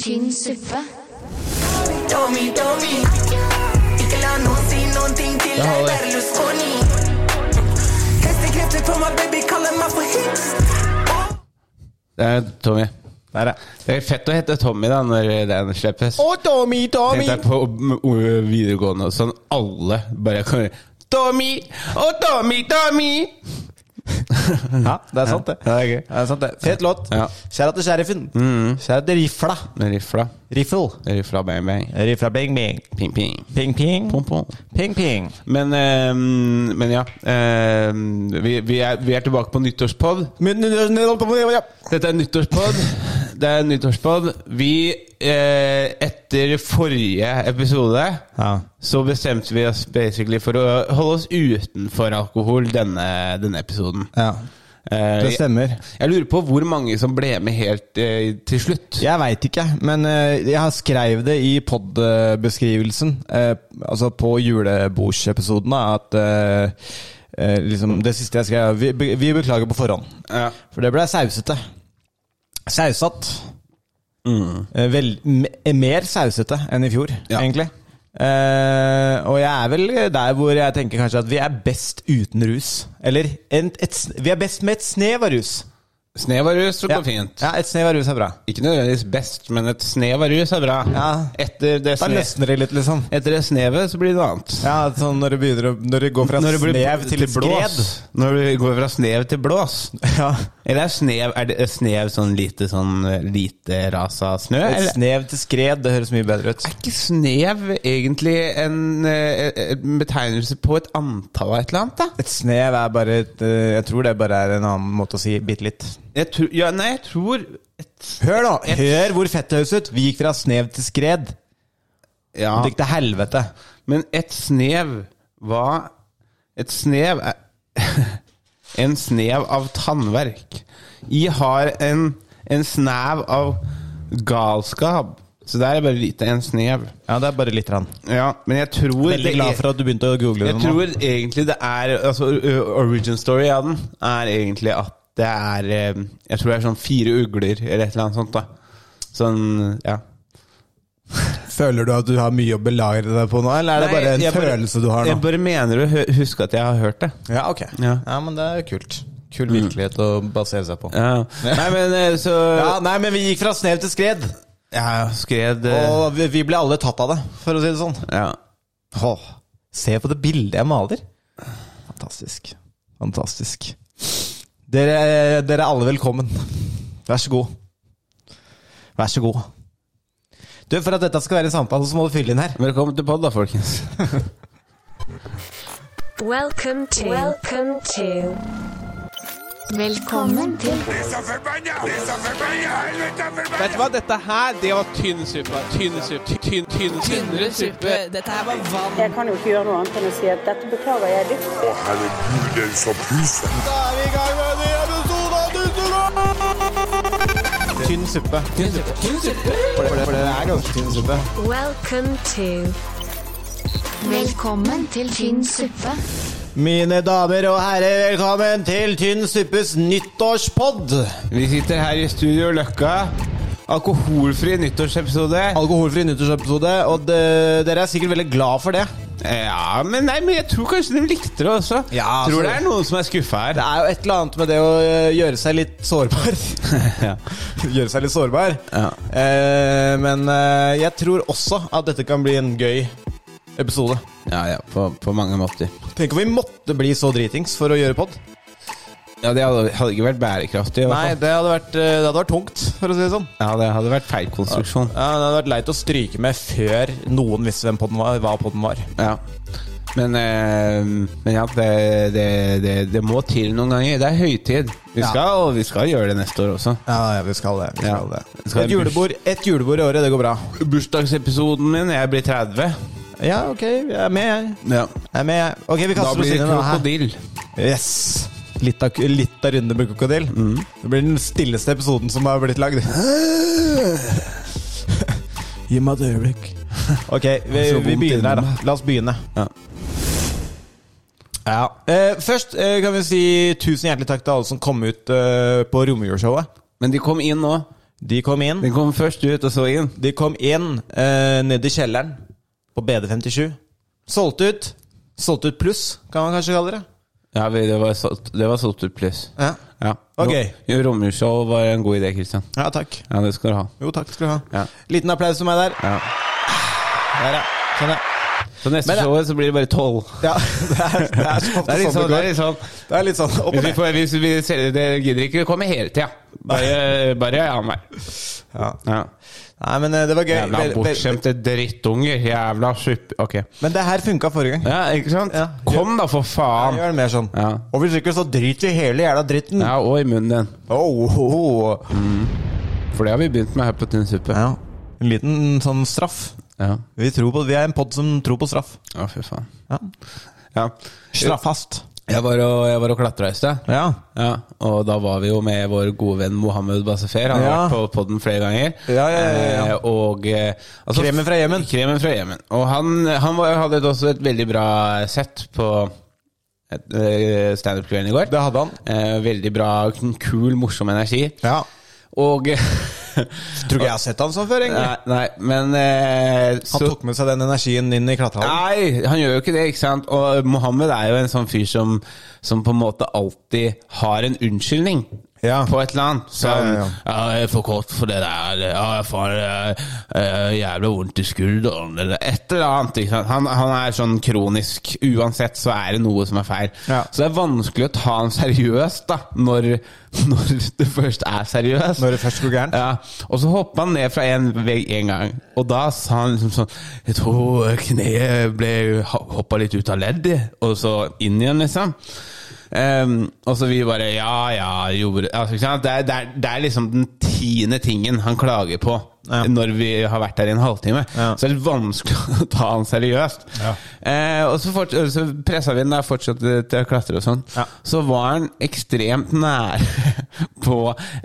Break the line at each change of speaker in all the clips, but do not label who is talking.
tynn suppe.
Tommy, Tommy. Ikke la noen si noen ting til
Det
deg,
har vi.
Berlusconi. Hestekrefter på meg, baby, kaller meg for hips.
Det er Tommy.
Der, ja.
Det er fett å hete Tommy da når den slippes.
Å, Tommy, Tommy!
Tenkte jeg på mm, o- videregående og sånn. Alle bare kommer Tommy! Å, Tommy, Tommy!
Ja, det er sant, det.
Ja, det er gøy.
er Mm. sant det. Fet låt.
Ja.
Kjære til sheriffen. Kjære til rifla.
Med rifla.
Riffel.
Rifla bang bang.
Rifla bing bing.
Ping ping.
Ping ping.
Pom pom.
Ping ping.
Men, eh, men ja. eh, vi, vi, er, vi er tilbake på nyttårspod. Dette er nyttårspod. Det er nyttårspod. Vi, eh, etter forrige episode,
Ja.
så bestemte vi oss basically for å holde oss utenfor alkohol denne, denne episoden.
Ja.
Eh,
Det stemmer.
Jeg, jeg lurer på hvor mange som ble med helt eh, til slutt.
Jeg veit ikke, men eh, jeg har skrev det i podbeskrivelsen, eh, altså på julebordsepisoden, da, at eh, eh, liksom Det siste jeg skrev, vi, be- vi beklager på forhånd.
Ja.
For det ble sausete. Sausatt. Eh, Vel, me- mer sausete enn i fjor,
Ja.
egentlig. Eh, og jeg er vel der hvor jeg tenker kanskje at vi er best uten rus. Eller en, et, s- vi er best med et snev av rus.
Snev av rus, så går
Ja.
det fint.
ja, et snev av rus er bra.
Ikke nødvendigvis best, men et snev av rus er bra.
Ja.
Etter, det
Da
sne-
løsner det litt, liksom.
etter det snevet, så blir det noe annet.
Ja, sånn når det, begynner, å- når det går fra
Når det blir
snev til, skred.
Når det går fra snev til blås.
Ja.
Eller er snev, er det er snev sånn lite sånn eh, lite ras av snø?
Et
Eller
snev til skred, det høres mye bedre ut.
er ikke snev egentlig en, eh, en betegnelse på et antall av et eller annet, da?
Et snev er bare et, eh, Jeg tror det bare er en annen måte å si bitte litt.
Jeg tror, ja, nei, jeg tror et,
Hør nå, hør hvor fett det høres ut! Vi gikk fra snev til skred.
ja.
Det gikk til helvete.
Men et snev var Et snev er En snev av tannverk. I har en, en snev av galskap. Så det er bare lite en snev.
Ja, det er bare litt rann.
Ja, men jeg tror
Veldig glad for at du begynte å google
Jeg
det nå.
tror egentlig det er Altså, ø, origin story av den er egentlig at det er eh, Jeg tror det er sånn fire ugler eller et eller annet sånt, da. Sånn, ja.
Føler du at du har mye å belagre deg på nå, eller er det
Nei,
bare en
jeg bare-
følelse du har
Jeg
nå?
bare mener å hø- huske at jeg har hørt det.
Ja, ok. Mm.
Ja.
Ja, men det er kult. Kul virkelighet å basere seg på.
Ja. Nei, men eh, så
Ja, nei, men vi gikk fra snev til skred,
Ja, skred eh,
og vi- vi ble alle tatt av det, for å si det sånn.
ja.
Åh, se på det bildet jeg maler. Fantastisk. Fantastisk. Dere, dere er alle velkommen. Vær så god. Vær så god. Du, For at dette skal være en samtale, så må du fylle inn her.
Velkommen til pod, da, folkens.
Welcome to. Welcome to.
Velkommen til
Vet du hva, dette her, det var tynn suppe. Tynn suppe. Tynn, tynn, tynnere suppe.
Jeg kan jo ikke gjøre noe annet enn å si at dette beklager jeg dypt.
Å, herregud, den som puser.
Da er vi i gang med en ny episode av Dusseland! Tynn suppe. Tynn suppe. For, det, for det er ganske tynn suppe.
Welcome to.
Velkommen til tynn suppe.
Mine damer og herrer, velkommen til Tynn suppes nyttårspod.
Vi sitter her i studio Løkka. Alkoholfri nyttårsepisode.
Alkoholfri nyttårsepisode, og det, dere er sikkert veldig glad for det.
Ja, men, nei, men jeg tror kanskje de likte det også.
Ja,
tror
altså-
det er noen som er skuffa her.
Det er jo et eller annet med det å øh, gjøre seg litt sårbar.
Ja.
gjøre seg litt sårbar.
Ja.
Eh, men eh, jeg tror også at dette kan bli en gøy episode.
Ja, ja, på, på mange måter.
Tenk om vi måtte bli så dritings for å gjøre pod.
Ja, Det hadde, hadde ikke vært bærekraftig. i hvert
Nei,
fall.
det hadde, vært, eh, det hadde vært tungt, for å si det sånn.
Ja, Det hadde vært feil konstruksjon.
Ja, det hadde vært leit å stryke med før noen visste hvem podden var, hva podden var.
Ja. Men, eh, men ja, det, det, det, det må til noen ganger. Det er høytid. Vi
Ja.
skal, og vi skal gjøre det neste år også.
Ja, ja, vi skal det. Vi
Ja.
skal det.
Vi skal ha
et,
en burs-
julebord, et julebord i året, det går bra.
Bursdagsepisoden min, jeg blir 30.
Ja, ok, jeg er med, jeg.
Ja.
Jeg er med, jeg. Ok,
Da
vi kaster
blir det
musikken nå. Hæ?
krokodill.
Yes. Litt av, litt av runde med krokodil.
Mm.
Det blir den stilleste episoden som har blitt lagd. Gi meg et øyeblikk. Ok, vi,
Så vondt
vi begynner her,
inni
da. La oss begynne.
Ja.
Ja. Eh, først eh, kan vi si tusen hjertelig takk til alle som kom ut eh, på romjulsshowet.
Men de kom inn nå.
De kom inn.
Den kom først ut og så inn.
De kom inn eh, ned i kjelleren på BD57. Solgt ut. Solgt ut pluss, kan man kanskje kalle det.
Ja, vi- det var solgt- det var solgt ut pluss.
Ja,
Ja.
Ok.
Jo, Romjulsshow var en god idé, Kristian.
ja takk.
Ja, det skal du ha.
Jo, takk skal du ha.
Ja.
Liten applaus for meg der.
Ja.
Der, ja. Sånn, ja.
Så neste
Men det-
showet så blir det bare tolv.
ja det, er, det er så ofte
Det er litt
sånn
sånn,
det
det er
går.
litt sånn
Det er litt sånn opp og
hvis vi
ned.
får, hvis vi ser, Dere gidder ikke komme hele tida. Bare, bare ja, ja, nei.
Ja.
Ja.
Nei, men eh, det var gøy.
Jævla
Vel- vel-
bortskjemte drittunger. Jævla suppe... Ok.
Men det her funka forrige gang.
Ja, ikke sant?
Ja.
Kom da, for faen!
Gjør det mer sånn.
Ja.
Og hvis ikke, så driter vi hele jævla dritten.
Ja, og i munnen din.
Oh, oh, oh.
For det har vi begynt med her på Tynn suppe.
Ja. En liten sånn straff.
Ja.
Vi, tror på, vi er en pod som tror på straff.
Å, fy faen.
Ja.
Ja.
Straffast.
Jeg var og, jeg var og klatra i sted.
Ja.
Ja, og da var vi jo med vår gode venn Mohammed Basefer. Han har
Ja.
vært på podden flere ganger.
Ja, ja, ja, ja.
Eh, Og, eh, altså-
Kremen fra Jemen.
Kremen fra Jemen. Og han, han var, hadde et- også et veldig bra sett på et, eh, standup-kvelden i går.
Det hadde han.
Eh, veldig bra, kul, morsom energi.
Ja.
Og
Tror ikke jeg har sett han sånn før, egentlig.
Nei, nei men eh,
Han
så-
tok med seg den energien inn i klatrehallen.
Nei, han gjør jo ikke det, ikke sant? Og Mohammed er jo en sånn fyr som, som på en måte alltid har en unnskyldning.
Ja.
På et eller annet. Som,
Ja,
ja,
ja, ja.
jeg er for kort for det der. Ja, jeg får eh, eh, jævla vondt i skulderen. Eller et eller annet. Ikke sant? Han, han er sånn kronisk. Uansett så er det noe som er feil.
Ja.
Så det er vanskelig å ta han seriøst da, når, når det først er seriøst.
Når det først går gærent.
Ja, og så hoppa han ned fra en vegg en gang, og da sa han liksom sånn Jeg tror kneet ble hoppa litt ut av leddet, og så inn igjen, liksom. Ehm, og så vi bare Ja, ja, gjorde altså, ikke sant? Det, er, det, er, det er liksom den tiende tingen han klager på
Ja.
når vi har vært der i en halvtime.
Ja.
Så det er litt vanskelig å ta han seriøst. Eh, og så, fort, så pressa vi den der, fortsatte til å klatre og sånn.
Ja.
Så var han ekstremt nære på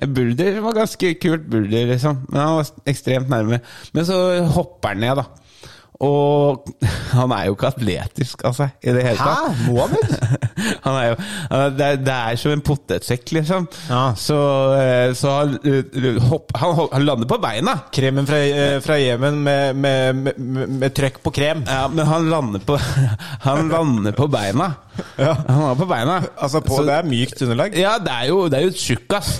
en bulder. Det var ganske kult bulder, liksom. Men han var ekstremt nærme. Men så hopper han ned, da. Og han er jo ikke atletisk av seg i det hele tatt.
Hæ? Mohammed?
Han er jo, han er- det, er, det er som en potetsekk, liksom.
Ja.
Så, eh, så han, eh, hopp, han, hop- han lander på beina.
Kremen fra, eh, fra Jemen med, med, med, med, med trøkk på krem.
Ja, men han lander på, han lander på beina.
Ja.
Han er på beina.
Altså, på,
Så-
det er mykt underlag.
Ja, det er jo, det er jo et tjukkas.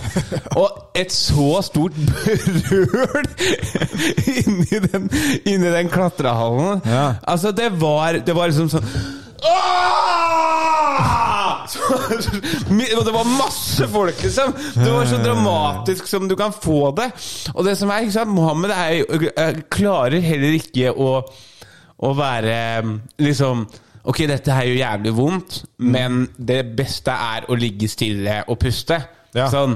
Og et så stort røl inni den, inni den klatrehallen.
Ja.
Altså, det var, det var liksom sånn Åh! Så- mi- Og det var masse folk, liksom! Det var så dramatisk som du kan få det. Og det som er, ikke sant, Mohammed er, jo- eh, klarer heller ikke å, å være eh, liksom Ok, dette her gjør jævlig vondt, men det beste er å ligge stille og puste.
Ja.
Sånn,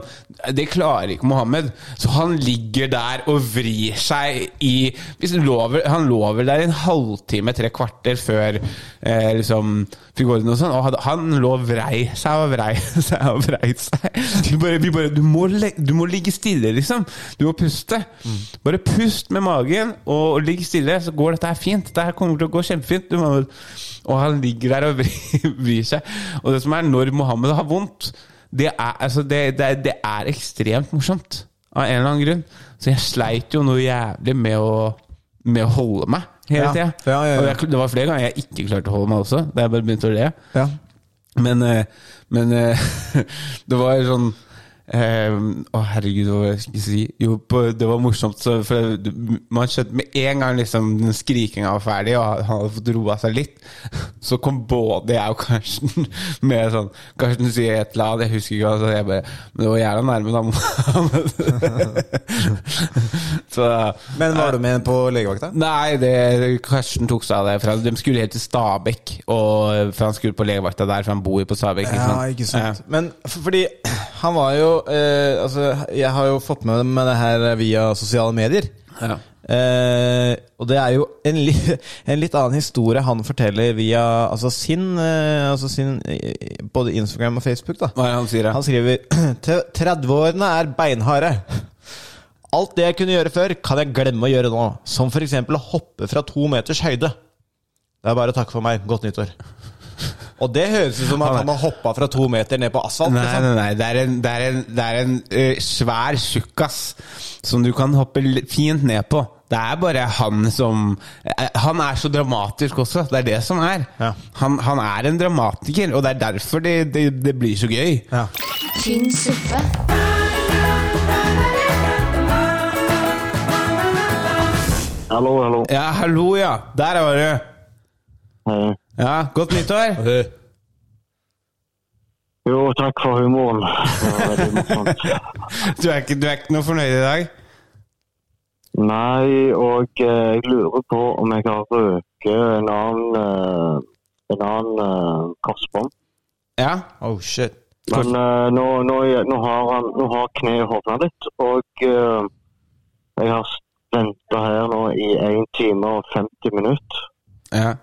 det klarer ikke Mohammed. Så han ligger der og vrir seg i hvis han, lover, han lover der i en halvtime, tre kvarter før eh, liksom, fikk ordnet og sånn. Og han- han lå og vrei seg og vrei seg og vrei seg. Vi bare, vi bare du, må, le- du må ligge stille, liksom. Du må puste. Bare pust med magen og ligg stille, så går dette her fint. Dette her kommer til å gå kjempefint. Du, Mohammed. Og han ligger der og vrir, vrir seg. Og det som er når Mohammed har vondt det er, altså det, det, er- det er ekstremt morsomt, av en eller annen grunn. Så jeg sleit jo noe jævlig med å, med å holde meg hele
Ja.
tida.
Ja, ja, ja.
Og jeg, det var flere ganger jeg ikke klarte å holde meg også, da jeg bare begynte å le.
Ja.
Men, eh, men eh, det var sånn eh, Å, herregud, hva var det jeg skulle si? Jo, på, det var morsomt, så, for det- man skjønte med en gang liksom, den skrikinga var ferdig, og han hadde fått roa seg litt, så kom både jeg og Karsten med sånn Karsten sier et eller annet, jeg husker ikke hva, så jeg bare Men det var jævla nærme, da. Mohammed." så
Men var du med på legevakta?
Nei, det, Karsten tok seg av det. For han- de skulle helt til Stabekk, og, for han skulle på legevakta der, for han bor jo på Stabekk. ikke sant?
Ja, ikke sant. Men f- fordi han var jo eh, Altså, jeg har jo fått med meg det her via sosiale medier.
Ja.
Eh, og det er jo en, li en litt annen historie han forteller via altså sin, eh, altså sin eh, Både Instagram og Facebook, da.
Hva er det han sier? da?
Han skriver «Til 30-årene er beinharde. Alt det jeg kunne gjøre før, kan jeg glemme å gjøre nå. Som f.eks. å hoppe fra to meters høyde. Det er bare å takke for meg. Godt nyttår. Og det høres ut som at
Han er-
han har hoppa fra to meter ned på asfalt.
Nei,
liksom.
nei, nei. Det er en, det er en, det er en eh, svær tjukkas som du kan hoppe l- fint ned på. Det er bare han som eh, Han er så dramatisk også. Det er det som er.
Ja.
Han, han er en dramatiker, og det er derfor det, det, det blir så gøy.
Ja.
tynn suppe,
Hallo, hallo.
Ja, hallo, ja. Der var du.
Hei.
Ja, Godt nyttår.
Jo, takk for humoren. Det var veldig morsomt.
Du er ikke, du er ikke noe fornøyd i dag?
Nei, og eh, jeg lurer på om jeg har røket en annen, eh, en annen eh, korsbånd.
Ja.
Oh shit.
Men eh, nå, nå, er- nå, har han, nå har kneet hovna litt, og eh, jeg har venta her nå i 1 time og 50 minutter.
ja.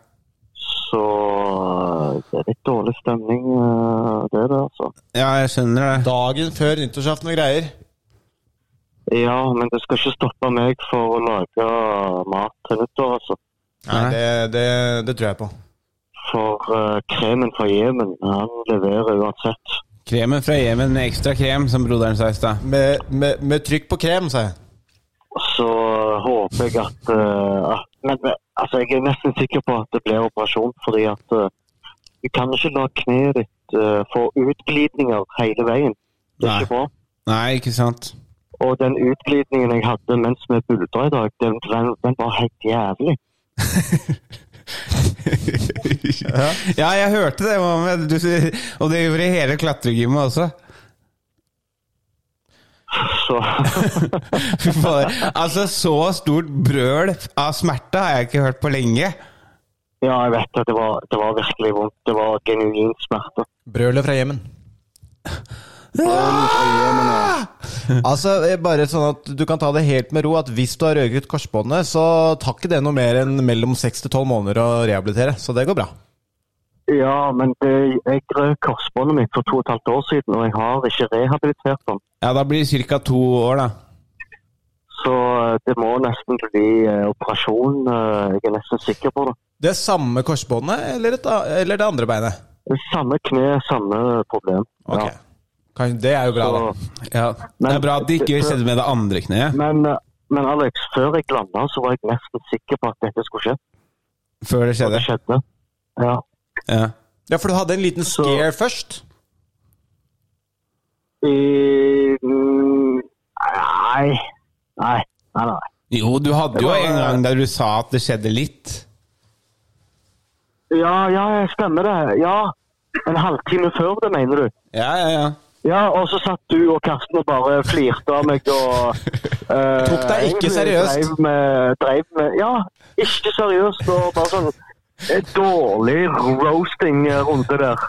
Så eh, det er litt dårlig stemning, eh, det der, altså.
Ja, jeg skjønner det.
Dagen før nyttårsaften og greier.
Ja, men det skal ikke stoppe meg for å lage mat til nyttår, altså.
Nei,
Nei.
det, det, det tror jeg på.
For eh, kremen fra Jemen, han leverer uansett.
Kremen fra Jemen med ekstra krem, som broderen sa i stad.
Med, med, med trykk på krem, sa jeg.
Så eh, håper jeg at eh, at- Men eh, altså, jeg er nesten sikker på at det blir operasjon, fordi at eh, du kan ikke la kneet ditt eh, få utglidninger hele veien. Det er
Nei.
ikke bra.
Nei, ikke sant?
Og den utglidningen jeg hadde mens vi buldra i dag, den, den, den var helt jævlig.
ja, jeg hørte det, Mohammed. Du, og det gjorde hele klatregymmet også.
Så
Fy fader. Altså, så stort brøl av smerte har jeg ikke hørt på lenge.
ja, jeg vet at det var, det var virkelig vondt. Det var genuin smerte.
Brølet fra Jemen. Altså, eh, bare sånn at du kan ta det helt med ro at hvis du har røket korsbåndet, så tar ikke det noe mer enn mellom 6 til 12 måneder å rehabilitere. Så det går bra.
Ja, men det, jeg røk korsbåndet mitt for to og et halvt år siden, og jeg har ikke rehabilitert den.
Ja, da blir det ca. to år, da.
Så eh, det må nesten bli eh, operasjon. eh, jeg er nesten sikker på det.
Det samme korsbåndet eller, et, a- eller det andre beinet?
Samme kne, samme problem.
Ok.
Ja.
Kan, det er jo bra, da.
Så,
Ja. Det er bra at de ikke setter med det andre kneet
men, eh, men Alex, før jeg landa, så var jeg nesten sikker på at dette skulle skje.
før det
Og
skjedde.
det skjedde. Ja.
Ja.
Ja, for du hadde en liten
Så-
scare først?
I, mm, nei. Nei. Nei, nei.
Jo, du hadde jo en gang der du sa at det skjedde litt.
Ja, ja, stemmer det. Ja. En halvtime før det, mener du?
Ja, ja, ja.
Ja, og så satt du og Karsten og bare flirte av meg og eh,
Tok deg ikke
egentlig
seriøst.
Dreiv med, dreiv med Ja, ikke seriøst og bare sånn eh, Dårlig roasting-runde der.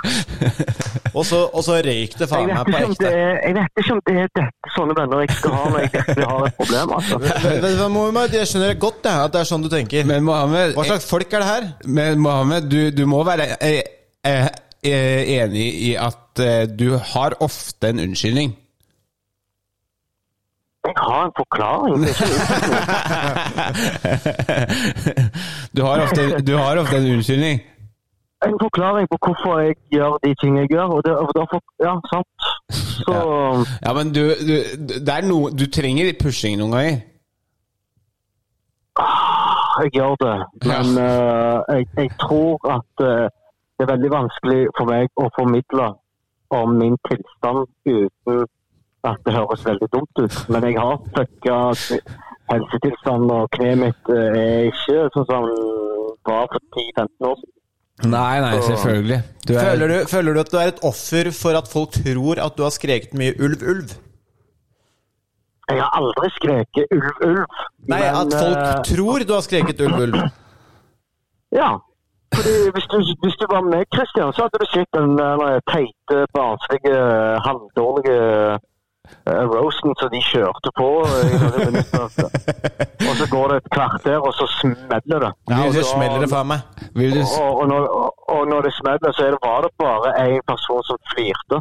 Og så, og så røyk det faen
Jeg
meg på
vet, ikke om det
ekte.
er, jeg vet ikke om det er dette sånne venner jeg skal ha når jeg virkelig har et problem. altså.
Vet du hva, Mohammed, jeg skjønner det godt det, at det er sånn du tenker.
Men Mohammed,
Hva slags folk er det her?
Men Mohammed, du, du må være eh, eh, eh, enig i at eh, du har ofte en unnskyldning.
Jeg har en forklaring. Det er ikke
Du har ofte, du har ofte en unnskyldning.
En forklaring på hvorfor jeg gjør de ting jeg gjør. og det, og da får, Ja, sant. Så
Ja, men du, du, det er noe, du trenger litt pushing noen ganger.
jeg gjør det, men eh, jeg, jeg tror at eh, det er veldig vanskelig for meg å formidle om min tilstand uten at det høres veldig dumt ut. Men jeg har fucka helsetilstand, og kneet mitt eh, er ikke sånn som det var for 10-15 år siden.
Nei, nei, selvfølgelig. Du er,
Føler du, føler du at du er et offer for at folk tror at du har skreket mye ulv, ulv?
Jeg har aldri skreket 'ulv, ulv'.
Nei,
men,
at
eh,
folk tror du har skreket ulv, ulv.
Ja. Fordi hvis du, hvis du var med Kristian, så hadde du sett den der teite, barnslige, halvdårlige eh, roasten som de kjørte på. eh, i noen minutter. og så går det et kvarter, og så smeller det.
Ja, og så
da-
smeller det faen meg.
vil du, s-
Og, og, når, og, og når det smeller, så er det, var det bare én person som flirte.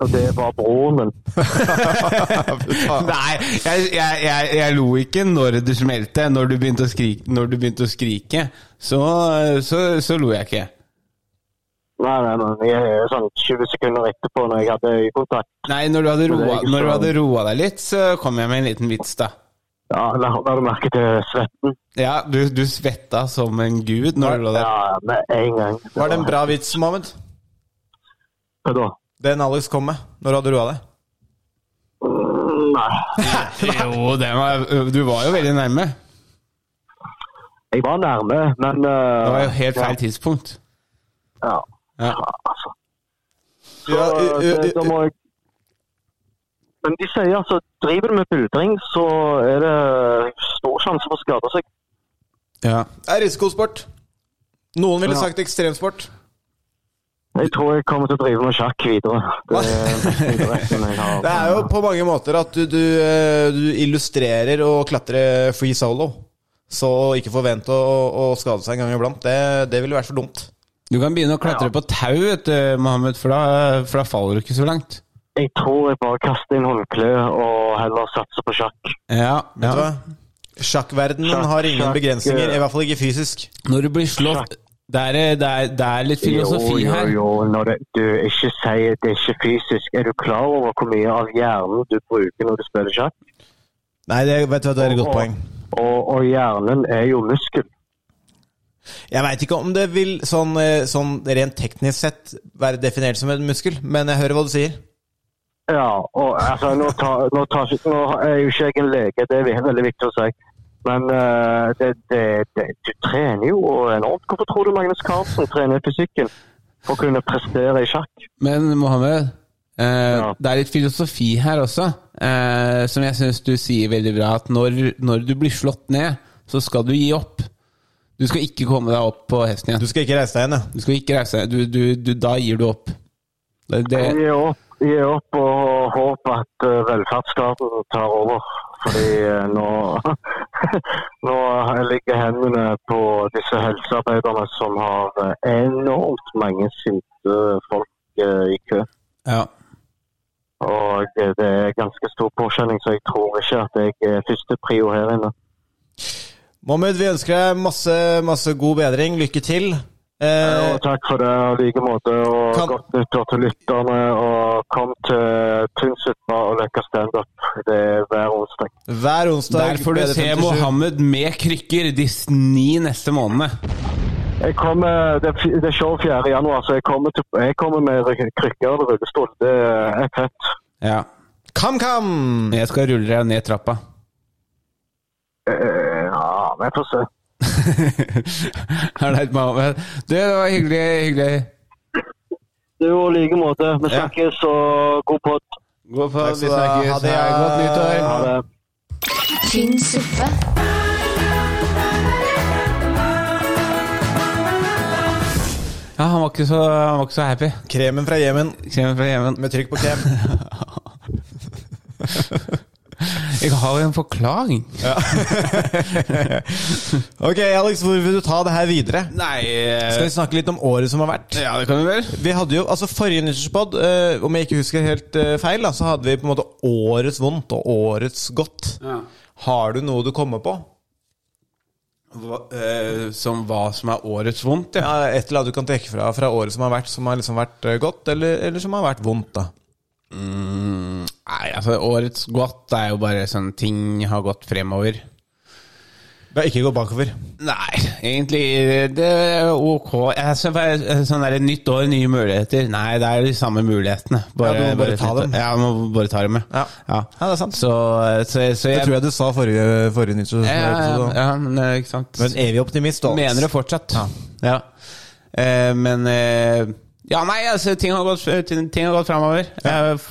Og det var broren min.
nei, jeg, jeg, jeg, jeg lo ikke når det smelte. Når du begynte å skrike, når du begynte å skrike så, så, så lo jeg ikke.
Nei, nei, nei. Jeg er sånn 20 sekunder etterpå, når jeg hadde øyekontakt.
Nei, når du hadde
Men det er
roa,
ikke
når du
sånn.
hadde roa deg litt, så kom jeg med en liten vits, da.
Ja, La la du merke til svetten?
Ja, du, du svetta som en gud når du lå der.
Ja, ja, med en gang.
Var det en bra vits, Mohammed?
Hva da?
Den Alex kom med? Når hadde du av deg?
Mm, Nei.
Jo, den var, du var jo veldig nærme.
Jeg var nærme, men eh,
Det var jo helt feil tidspunkt.
Ja.
Ja.
ja, altså. Så,
Ja, ø- ø-
det- da
ø-
må jeg Men de sier altså driver du med buldring, så er det stor sjanse for å skade seg.
Ja.
er risikosport. Noen ville
Ja.
sagt ekstremsport.
Jeg tror jeg kommer til å drive med sjakk videre. Det er interessen jeg har.
Det er jo på mange måter at du, du, eh, du illustrerer å klatre free solo. Så ikke forvente å, å skade seg en gang iblant, det, det ville vært for dumt.
Du kan begynne å klatre på tau, vet du, Mohammed, for da, for da faller du ikke så langt.
Jeg tror jeg bare kaster inn håndkleet og heller satser på sjakk.
Ja,
Vet du
ja.
hva? Sjakkverdenen
Sjakk-
har ingen
sjakk,
begrensninger,
eh,
i hvert fall ikke fysisk.
Når du blir slått Det er, eh, det er, det er litt filosofi
jo,
her.
Jo, jo, når det, du ikke sier det er ikke fysisk, er du klar over hvor mye av hjernen du bruker når du spiller sjakk?
Nei, det, vet du hva, det er et godt poeng.
Og, og hjernen er jo muskel.
Jeg veit ikke om det vil, sånn, eh, sånn rent teknisk sett, være definert som en muskel, men jeg hører hva du sier.
Ja, og altså, nå, tar, nå, tar, ikke- nå er jo ikke jeg en lege, det er veldig viktig å si. Men eh, det, det, det, du trener jo enormt. Hvorfor tror du Magnus Carlsen trener fysikken? For å kunne prestere i sjakk?
Men Mohammed, eh,
Ja.
det er litt filosofi her også, eh, som jeg syns du sier veldig bra. At når, når du blir slått ned, så skal du gi opp. Du skal ikke komme deg opp på hesten
Du
igjen.
skal ikke reise deg igjen, ja.
Du skal ikke reise deg. Du, du, du, da gir du opp. Det, det,
Gi opp, gi opp og håp at eh, velferdsstaten tar over. Fordi eh, nå, nå ligger hendene på disse helsearbeiderne som har eh, enormt mange sinte folk eh, i kø.
ja.
Og eh, det er ganske stor påkjenning, så jeg tror ikke at jeg er første prio her inne.
Mohammed, vi ønsker deg masse, masse god bedring. Lykke til. Eh,
Og takk for det, og i like måte. Og
Kan-
godt nyttår til lytterne. Og kom til Tynset og Løkka standup. Det er hver onsdag.
hver onsdag
Der får du se
57.
Mohammed med krykker de s- ni neste månedene.
Jeg kommer, det, er f- det er show 4. januar, så jeg kommer, til, jeg kommer med ry- krykker og rullestol. Det er fett.
Ja.
KamKam!
Jeg skal rulle deg ned trappa.
Eh, Ja, vi får se.
Her er det Mohammed. Du, det var hyggelig. hyggelig.
Du og like måte. Vi
Ja.
snakkes, og god pott.
God for,
vi snakkes.
Ha det. ja.
Ha
Godt
det.
nyttår.
Ha det.
tynn suppe,
Ja, han var ikke så, han var ikke så happy.
Kremen fra Jemen.
Kommer fra Jemen.
Med trykk på krem.
Jeg har en forklaring.
Ok, Alex, hvor vil du ta det her videre?
Nei eh,
Skal vi snakke litt om året som har vært?
Ja, det kan du vel.
Vi hadde jo, altså Forrige nyttårspod, eh, om jeg ikke husker helt eh, feil, da, så hadde vi på en måte årets vondt og årets godt. Har du noe du kommer på?
Hva, eh, som hva som er årets vondt, ja.
Ja, et eller annet du kan trekke fra fra året som har vært, som har liksom vært eh, godt, eller, eller som har vært vondt? da
Nei, altså, årets godt er jo bare sånn ting har gått fremover.
Det er ikke gå bakover.
Nei, egentlig det er ok. Altså, bare sånn der, nytt år, nye muligheter. Nei, det er de samme mulighetene.
Ja, du må bare ta dem.
Ja, du må bare ta dem,
Ja. Ja, det er sant.
Så, eh, så, så
Det
jeg,
tror jeg du sa forrige, forrige
ja, ja,
nyttårspod.
ja, men, eh, ikke sant.
Men evig optimist, da.
Mener det fortsatt. Ja. Eh, men eh, Ja, nei, altså, ting har gått, ting ting har gått framover.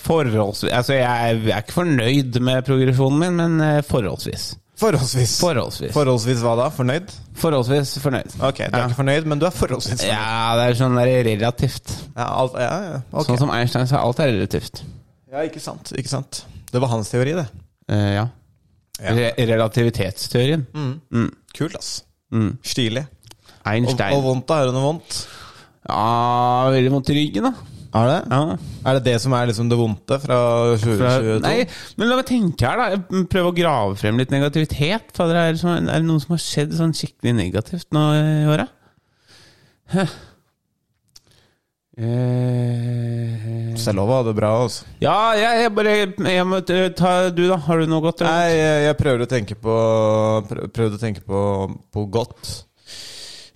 Forholdsvis Altså, jeg er, jeg er ikke fornøyd med progresjonen min, men eh, forholdsvis.
Forholdsvis.
Forholdsvis.
Forholdsvis hva da? Fornøyd?
Forholdsvis fornøyd.
Ok, du er
ja.
ikke fornøyd, men du er forholdsvis fornøyd.
ja, det er sånn der relativt.
Ja, alt, ja, ja. ok.
Sånn som Einstein sa, alt er relativt.
ja ikke sant. Ikke sant. Det var hans teori, det.
Eh, ja. Re relativitetsteorien.
Mm. Kult, ass.
Mm.
Stilig. Og, og
Einstein.
vondt, da? Er det noe vondt?
Ja, veldig vondt i ryggen, da.
Er det?
Ja.
Er det det som er liksom det vondte fra 2022?
Fra, nei, men la meg tenke her, da. Prøve å grave frem litt negativitet. For er, det sånn, er det noe som har skjedd sånn skikkelig negativt nå i året? Hæ. Eh,
Selova hadde det bra, altså.
ja, jeg, jeg bare jeg må eh, ta Du, da? Har du noe godt? eller?
Nei, jeg, jeg prøver å tenke på prø- Prøvde å tenke på, på godt.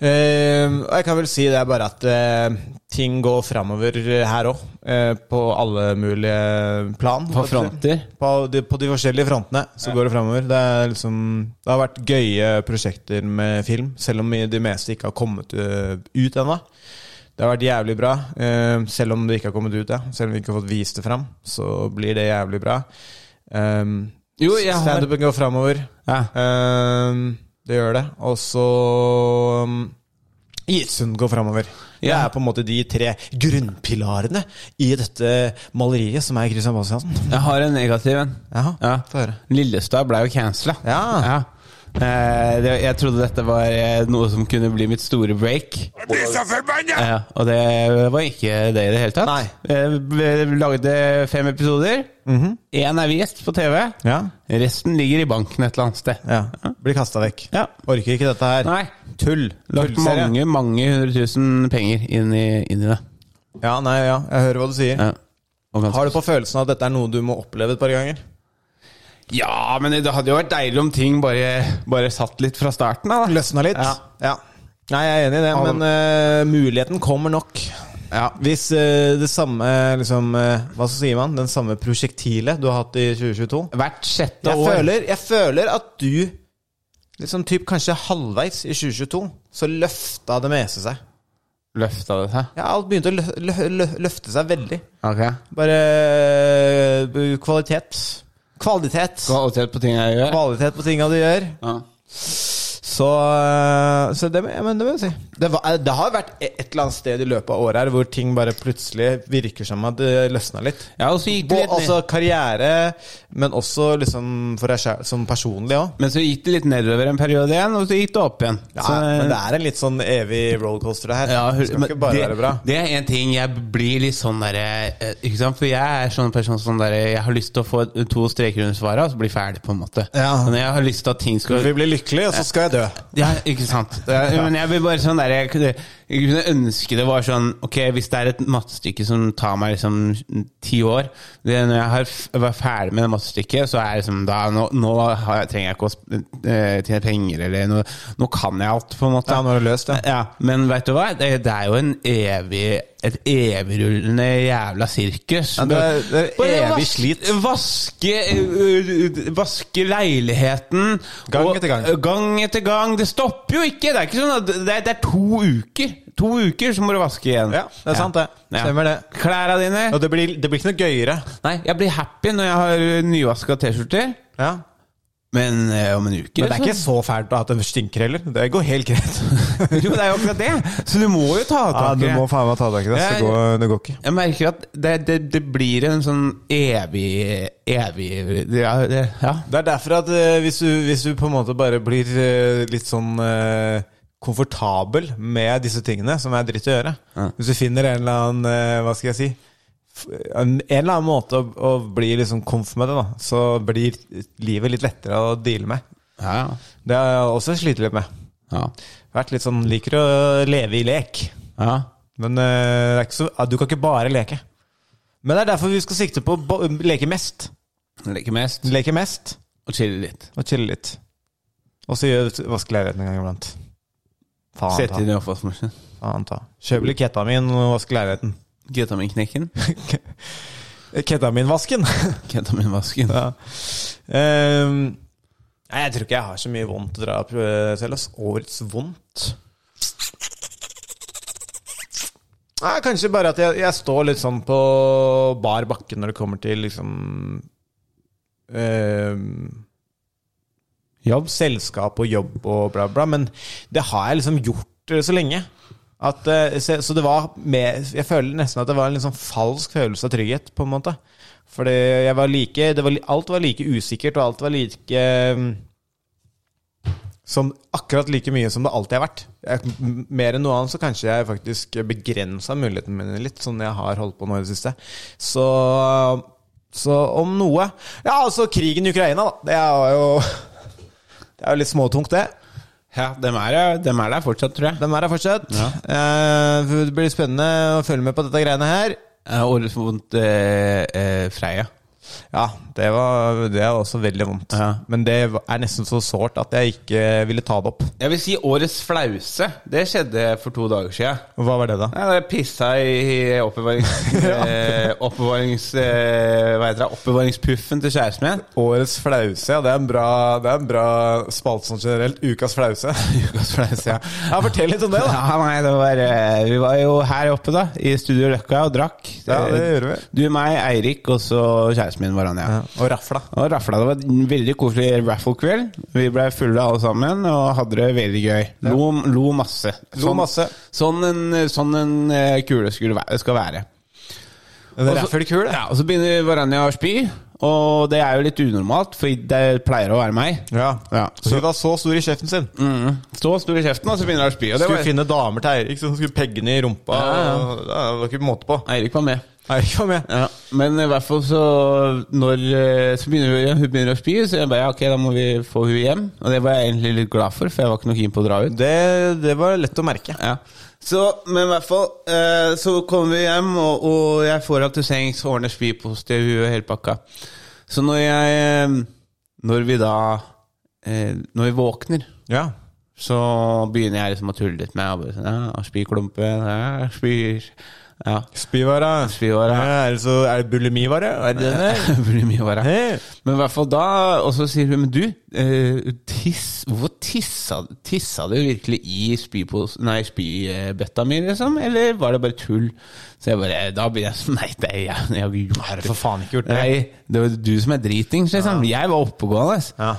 Eh, og jeg kan vel si det er bare at eh, ting går framover her òg. Eh, på alle mulige plan.
På fronter?
På de, på de forskjellige frontene så går det framover. Det, er liksom, det har vært gøye prosjekter med film, selv om de meste ikke har kommet eh, ut ennå. Det har vært jævlig bra, eh, selv om det ikke har kommet ut. Ja. Selv om vi ikke har fått vist det fram, så blir det jævlig bra. Um,
Jo, jeg har-
Standupen går framover.
Ja.
Um, det gjør det. Og så um, Isund går framover. Det
Ja.
er på en måte de tre grunnpilarene i dette maleriet som er Christian Bastiansen.
Jeg har en negativ en.
Jaha,
Ja.
få høre.
Lillestad ble jo cancela.
Ja.
Eh, det, jeg trodde dette var eh, noe som kunne bli mitt store break.
Jeg blir så forbanna!
Ja, og det var ikke det i det hele tatt.
Nei. Mhm.
Eh, Vi lagde fem episoder. Én er vist på TV.
Ja.
Resten ligger i banken et eller annet sted.
ja. Blir kasta vekk.
Ja.
Orker ikke dette her.
Nei.
Tull.
Lagt
Tullserie.
mange, mange hundre tusen penger inn i, inn i det.
Ja, nei, ja. Jeg hører hva du sier.
Ja. Og ganske-
Har du på følelsen at dette er noe du må oppleve et par ganger?
ja, men det hadde jo vært deilig om ting bare, bare satt litt fra starten av. da.
Løsna litt?
Ja.
Nei, jeg er enig i det, men eh, muligheten kommer nok.
Ja.
Hvis eh, det samme eh, liksom, eh, Hva så sier man? Den samme prosjektilet du har hatt i 2022?
Hvert sjette
Jeg
år.
føler, jeg føler at du liksom typ kanskje halvveis i 2022 så løfta det meste seg.
Løfta det seg.
Ja, alt begynte å lø lø lø løfte seg veldig.
Ok.
Bare eh, kvalitet. Kvalitet.
Kvalitet på ting jeg gjør.
Kvalitet på tinga du gjør.
Ja.
Så, øh, så det, må- ja, men det må jeg si. Det, var, eh, det har vært et et eller annet sted i løpet av året her hvor ting bare plutselig virker som at det løsna litt.
Ja, og så gikk det
Både
litt ned.
altså karriere, men også liksom for deg selv som personlig òg.
Men så gikk det litt nedover en periode igjen, og så gikk det opp igjen.
Ja,
så,
men det er en litt sånn evig rollercoaster, det her.
Ja,
det skal
men
ikke bare
det,
være bra.
Det er en ting jeg blir litt sånn derre eh, Ikke sant? For jeg er sånn person som der, Jeg har lyst til å få to streker under svaret og så bli ferdig, på en måte.
Ja.
Men jeg har lyst til at ting skal
Vi blir lykkelige, og så skal jeg dø.
ja, ikke sant. Det er- Men jeg blir bare sånn der jeg, kunne- jeg kunne ønske det var sånn Ok, hvis det er et mattestykke som tar meg liksom ti år det, er Når jeg har f var ferdig med det mattestykket, så er det liksom da Nå, nå har jeg, trenger jeg ikke å sp- eh, tjene penger, eller nå, nå kan jeg alt, på en måte.
Ja, nå har du løst det.
Ja, men vet du hva? Det, det er jo en evig et evigrullende jævla sirkus.
Ja, det er- det er
Bare
evig
vask-
slit.
Vaske, ø, ø, vaske leiligheten.
Gang etter gang.
ø, Gang etter gang. Det stopper jo ikke! Det er ikke sånn at det er, det er to uker. To uker, så må du vaske igjen.
Ja, det er sant det. Stemmer det.
Klærne dine.
Og det blir, det blir ikke noe gøyere.
Nei, jeg blir happy når jeg har nyvaska T-skjorter,
Ja.
men ø, om en uke
Men det er ikke så fælt at det stinker heller. Det går helt greit.
Jo, det er jo akkurat det! Så du må jo ta tak i det.
faen meg ta tak i
Ja,
så går- det går ikke.
Jeg merker at det, det, det blir en sånn evig Evig Ja. Det, ja.
Det er derfor at eh, hvis, du, hvis du på en måte bare blir eh, litt sånn eh, komfortabel med disse tingene, som er dritt å gjøre Hvis du finner en eller annen eh, Hva skal jeg si? f- En en eller annen måte å, å bli liksom komf med det, da. Så blir livet litt lettere å deale med.
Ja, ja.
Det har jeg også slitt litt med.
ja.
Vært litt sånn Liker å leve i lek.
ja.
Men eh, det er ikke så, ah, du kan ikke bare leke. Men det er derfor vi skal sikte på å bo- leke mest.
Leke mest
Leke mest.
og chille litt.
Og chille litt. Og så gjør vaske leiligheten en gang iblant. Faen
Sette
ta.
inn i oppvaskmaskinen.
Faen ta. Kjøp litt ketamin og vask leiligheten. Eh,
Ketamin-knekken.
Ketaminvasken!
Ketamin-vasken.
ja. Ehm, nei, jeg tror ikke jeg har så mye vondt å dra opp eh, selv. Ass. Årets vondt Nei, Kanskje bare at jeg, jeg står litt sånn på bar bakke når det kommer til liksom ehm, jobb, selskap og jobb og bla, bla. Men det har jeg liksom gjort eh, så lenge. At, eh, så, så det var mer Jeg føler nesten at det var en litt sånn falsk følelse av trygghet, på en måte. Fordi jeg var like det var, li- Alt var like usikkert, og alt var like mm, som akkurat like mye som det alltid har vært. Jeg, m- mer enn noe annet så kanskje jeg faktisk begrensa mulighetene mine litt, sånn jeg har holdt på nå i det siste. Så, så om noe Ja, altså krigen i Ukraina, da. Det er jo, det er jo litt småtungt, det.
Ja, dem er, dem er der fortsatt, tror jeg.
De er her fortsatt. Eh, det blir spennende å følge med på dette greiene her.
Eh, Årets vondt eh, eh, Freia.
Ja, det var, det var også veldig vondt.
Ja.
Men det er nesten så sårt at jeg ikke ville ta det opp.
Jeg vil si årets flause. Det skjedde for to dager siden.
Hva var det, da?
Nei, det pissa i oppbevarings... eh, oppbevarings... Eh, hva heter det? Oppbevaringspuffen til kjæresten min.
Årets flause, ja. Det er en bra, det er en bra spalte sånn generelt. Ukas flause.
Ukas flause, ja.
Ja, Fortell litt om det, da.
Ja, nei, det var, eh, vi var jo her oppe, da. I Studio Løkka og drakk.
Ja, det gjorde vi.
Du, meg, Eirik og så kjæresten min, Varanja. Ja.
Og rafla.
Og rafla. Det var en veldig koselig raffle-kveld. Vi ble fulle alle sammen og hadde det veldig gøy. Lo, lo masse.
Lo masse.
Sånn en, sånn en eh, kule skulle væ- skal være.
En
Og så-
raffelkul,
Ja, og så begynner Varanja å spy, og det er jo litt unormalt, for det pleier å være meg.
Ja.
Ja.
Så hun var så stor i kjeften sin.
Stå stor i kjeften, og så begynner hun å spy. Og det
Skulle
var,
finne damer til Eirik som skulle pegge henne i rumpa.
Ja, ja.
og- ja, Det var ikke måte på.
Eirik var med.
Eirik var med.
Ja, men i hvert fall så Når eh, så begynner hun, hun begynner å spy, så jeg bare ja, ok, da må vi få hun hjem. Og det var jeg egentlig litt glad for, for jeg var ikke noe keen på å dra ut.
Det, det var lett å merke.
Ja. Så, men i hvert fall eh, så kommer vi hjem, og, og jeg får henne til sengs, ordner spypose til hun og hele pakka. Så når jeg eh, Når vi da eh, Når vi våkner
Ja.
så begynner jeg liksom å tulle litt med og bare sånn, ja, spyklumpen, ja, spyr Ja,
Spyvare.
spyåra.
Ja, er, det så, er det bulimivare? Er det det?
Det blir mye å være.
Hey.
Men i hvert fall da, og så sier hun, men du, eh, tiss, hvorfor tissa, tissa du virkelig i spypos- nei, spybøtta mi, liksom? Eller var det bare tull? Så jeg bare, da blir jeg sånn, nei, det er jeg, jeg har ikke gjort
for faen ikke gjort det.
Nei, det var du som er dritings, liksom. Jeg var oppegående, ass.
Ja.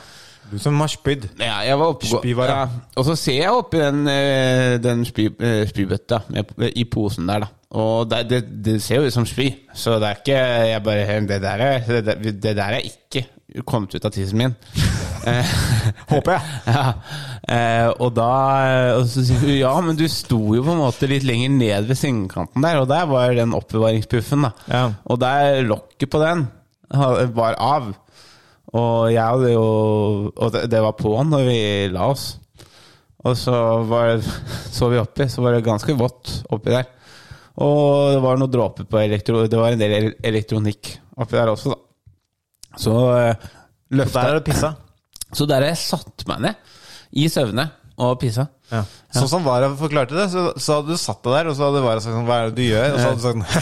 Du som har spydd.
Ja, jeg var oppegå-
Spyvare.
Ja. Og så ser jeg oppi den, eh, den spy, eh, spybøtta med- i posen der, da. Og det, det, det ser jo ut som spy, så det er ikke Jeg bare "Hm, Det der er, det der, det der er ikke kommet ut av tissen min. Eh,
Håper jeg.
ja. Eh, og da og så sier hun ja, men du sto jo på en måte litt lenger ned ved sengekanten der, og der var den oppbevaringspuffen, da.
Ja.
Og der lokket på den ha- var av. Og jeg hadde jo Og det, det var på'n når vi la oss. Og så var, så vi oppi, så var det ganske vått oppi der. Og det var noen dråper på elektro... Det var en del el- elektronikk oppi der også, da. Så eh, løfta
Der er det pissa.
Så der har jeg satt meg ned i søvne og pissa.
Ja. Sånn som Vara forklarte det, så, så hadde du satt deg der, og så hadde Vara sagt sånn Hva er det du gjør? Og så hadde du sagt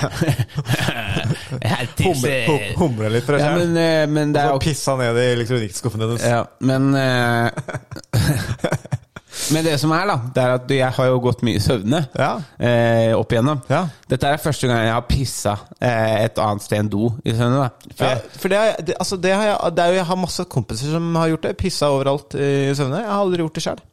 sånn,
Jeg
humre, hum, altså.
tisser.
humre litt for deg
Ja,
selv.
men, eh, men det
Og
er
så
jo
pissa ned i elektronikkskuffen hennes.
Ja, men eh, Men det som er, da, det er at jeg har jo gått mye i søvne
Ja.
eh, opp igjennom.
Ja.
Dette er første gang jeg har pissa eh, et annet sted enn do i søvne. Da. For
Ja,
jeg,
for det, er- det, altså det, har jeg, det er jo, jeg har masse kompiser som har gjort det. Pissa overalt i søvne. Jeg har aldri gjort det sjøl.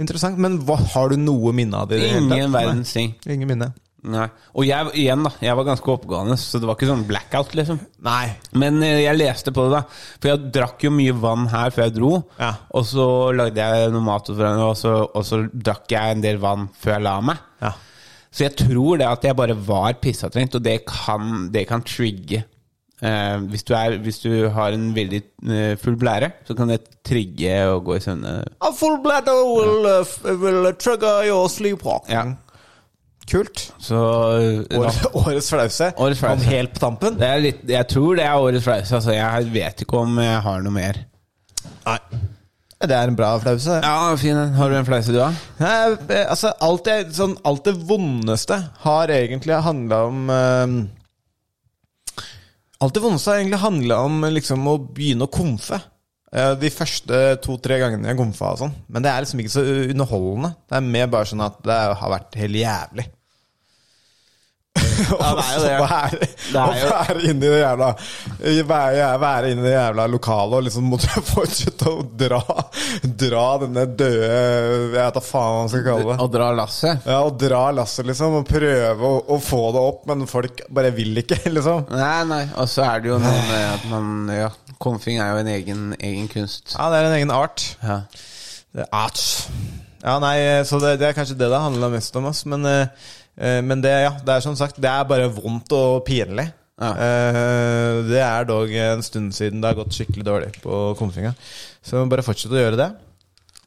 Interessant. Men hva, har du noe minne av det? i det hele tatt?
ingen
Nei.
verdens ting.
Ingen minne.
Nei. Og jeg, igjen, da, jeg var ganske oppegående, så det var ikke sånn blackout, liksom.
Nei.
Men eh, jeg leste på det, da. For jeg drakk jo mye vann her før jeg dro.
Ja.
Og så lagde jeg noe mat, og sånn, og så, og så drakk jeg en del vann før jeg la meg.
Ja.
Så jeg tror det at jeg bare var pissetrengt, og det kan, det kan trigge. Eh, hvis, du er, hvis du har en veldig eh, full blære, så kan det trigge å gå i søvne.
A full bladder will, uh, f- will trigger your sleepwalking.
Ja.
Kult.
Så eh, da-
Årets, årets flause.
Årets flause.
Kom helt på tampen.
det er litt, Jeg tror det er årets flause. Altså, jeg vet ikke om jeg har noe mer.
Det er en bra flause. det.
Ja, fin en. Har du en flause, du, da?
Nei, eh, altså, alt, det, sånn, alt det vondeste har egentlig handla om eh, Alt det vondeste har egentlig handla om eh, liksom, å begynne å komfe. Eh, de første to-tre gangene jeg komfa og sånn. Men det er liksom ikke så underholdende. Det er mer bare sånn at det er- har vært helt jævlig.
Ja, det er jo det.
Å være,
er
å
jo-
være inne i det jævla Være, være inne i det jævla lokalet og liksom måtte fortsette å dra Dra denne døde Jeg vet da faen hva man skal kalle det.
Å dra lasset?
Ja, Å dra lasset, liksom, og prøve å, å få det opp, men folk bare vil ikke, liksom.
Nei, nei. Og så er det jo noe med at man Ja, konfing er jo en egen, egen kunst.
Ja, det er en egen art.
Ja.
Det er Art. Ja, nei, så det, det er kanskje det det handler mest om, ass. Men, eh, eh, men det, ja, det er som sagt, det er bare vondt og pinlig.
Ja.
Eh, det er dog en stund siden det har gått skikkelig dårlig på konfinga. Så bare fortsett å gjøre det.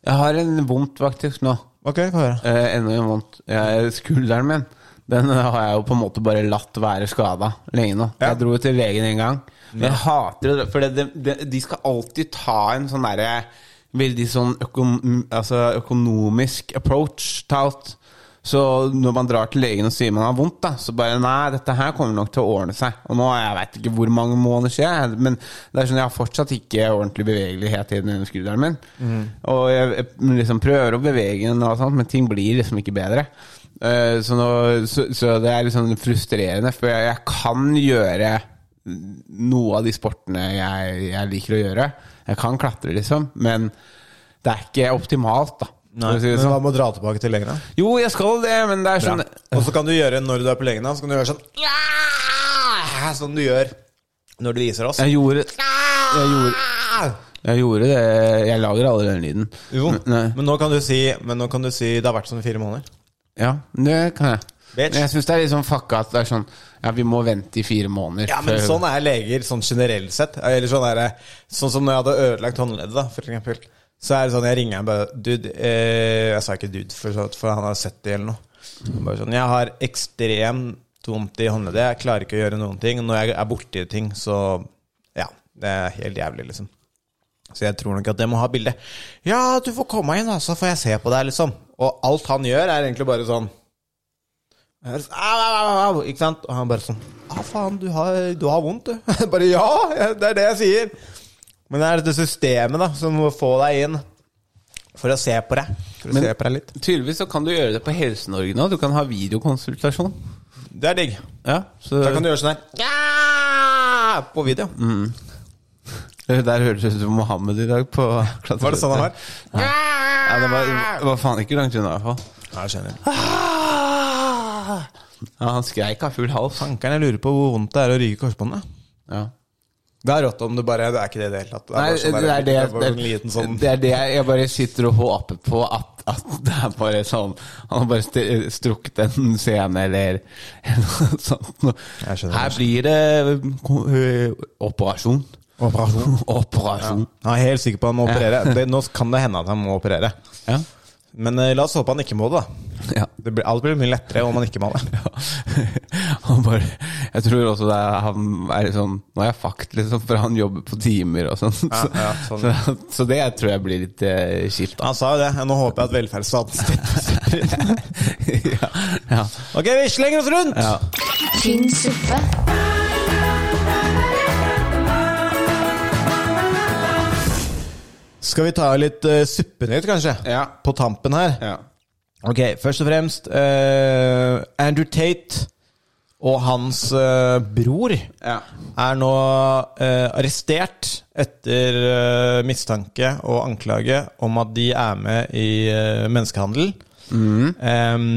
Jeg har en vondt faktisk nå.
Ok, få høre.
Eh, enda en vondt. Jeg, skulderen min Den har jeg jo på en måte bare latt være skada lenge nå. Jeg dro jo til legen en gang. Men jeg hater det, for det, det, det, de skal alltid ta en sånn derre Veldig sånn økom, altså økonomisk approach til alt. Så når man drar til legen og sier man har vondt, da, så bare Nei, dette her kommer nok til å ordne seg. Og nå jeg vet ikke hvor mange måneder siden, men det er sånn jeg har fortsatt ikke ordentlig bevegelighet i den skulderen min.
Mhm.
Og jeg, jeg liksom prøver å bevege den, og sånt, men ting blir liksom ikke bedre. Eh, så, nå, så, så det er liksom frustrerende, for jeg, jeg kan gjøre noe av de sportene jeg, jeg liker å gjøre. Jeg kan klatre, liksom, men det er ikke optimalt, da. for å si det
Men
sånn.
hva med å dra tilbake til legen, da?
Jo, jeg skal det, men det er sånn
Og så kan du gjøre når du er på legen, da, så kan du gjøre sånn «Ja!» Sånn du gjør når du viser oss.
Jeg gjorde Jeg gjorde, jeg gjorde det Jeg lager aldri den lyden.
Jo,
Men- Nei.
men nå kan du si Men nå kan du si det har vært sånn i fire måneder.
Ja, det kan jeg.
Bitch.
Men jeg syns det er litt sånn fucka at det er sånn Ja, vi må vente i fire måneder.
Ja, men
før-
sånn er leger sånn generelt sett. Eller sånn, er, det- sånn som når jeg hadde ødelagt håndleddet, da, for eksempel. Så er det sånn, jeg ringer ham bare Dude, eh, jeg sa ikke dude, for, så- for han har sett det eller noe. Han Bare sånn, jeg har ekstremt vondt i håndleddet, jeg klarer ikke å gjøre noen ting. Når jeg er borti ting, så Ja, det er helt jævlig, liksom. Så jeg tror nok at jeg må ha bilde. Ja, du får komme inn, da, så får jeg se på deg, liksom. Og alt han gjør, er egentlig bare sånn Au, au, au, au, ikke sant? Og han bare sånn Ja, faen, du har, du har vondt, du. bare ja, jeg- det er det jeg sier. Men det er dette systemet da som må få deg inn for å se på deg. For å
Men-
se på deg litt.
Tydeligvis så kan du gjøre det på Helse-Norge nå. Du kan ha videokonsultasjon.
Det er digg.
Ja, så
Da kan du gjøre sånn her ja! på video.
Der høres det ut som Mohammed i dag på
Var det sånn han var?
Ja, det var, det var faen ikke langt unna, i hvert fall.
Ja, jeg skjønner.
Ja, han skreik av full hals. han.
Ankeren, jeg lurer på hvor vondt det er å ryke korsbåndet.
Ja.
Det er rått om du bare Det er ikke det i det hele tatt. Det
Nei,
bare
det
sånn der-
er det
det er bare en liten sånn
Det er det jeg jeg bare sitter og håper på at, at det er bare sånn Han har bare st- strukket en scene eller eller noe sånt.
Jeg skjønner,
Her blir det ko- ø, operasjon.
Operasjon.
Operasjon.
Jeg er helt sikker på at han må
Ja.
operere. Det, nå kan det hende at han må operere.
Ja.
Men eh, la oss håpe han ikke må det, da.
ja.
Det blir, alt blir mye lettere om han ikke må det.
Han bare Jeg tror også det er, han er litt sånn Nå er jeg fucked, liksom, for han jobber på timer og sånn.
Ja, ja, sånn.
så, så det tror jeg blir litt eh, kjipt, da.
Han sa jo det. Nå håper jeg at velferdsstaten stipper inn.
ja, ja,
Ok, vi slenger oss rundt!
ja.
tynn suppe,
Skal vi ta litt uh, suppenytt, kanskje?
Ja.
På tampen her.
ja.
Ok, først og fremst eh, Andrew Tate og hans eh, bror
Ja.
er nå eh, arrestert etter eh, mistanke og anklage om at de er med i eh, menneskehandel. Em,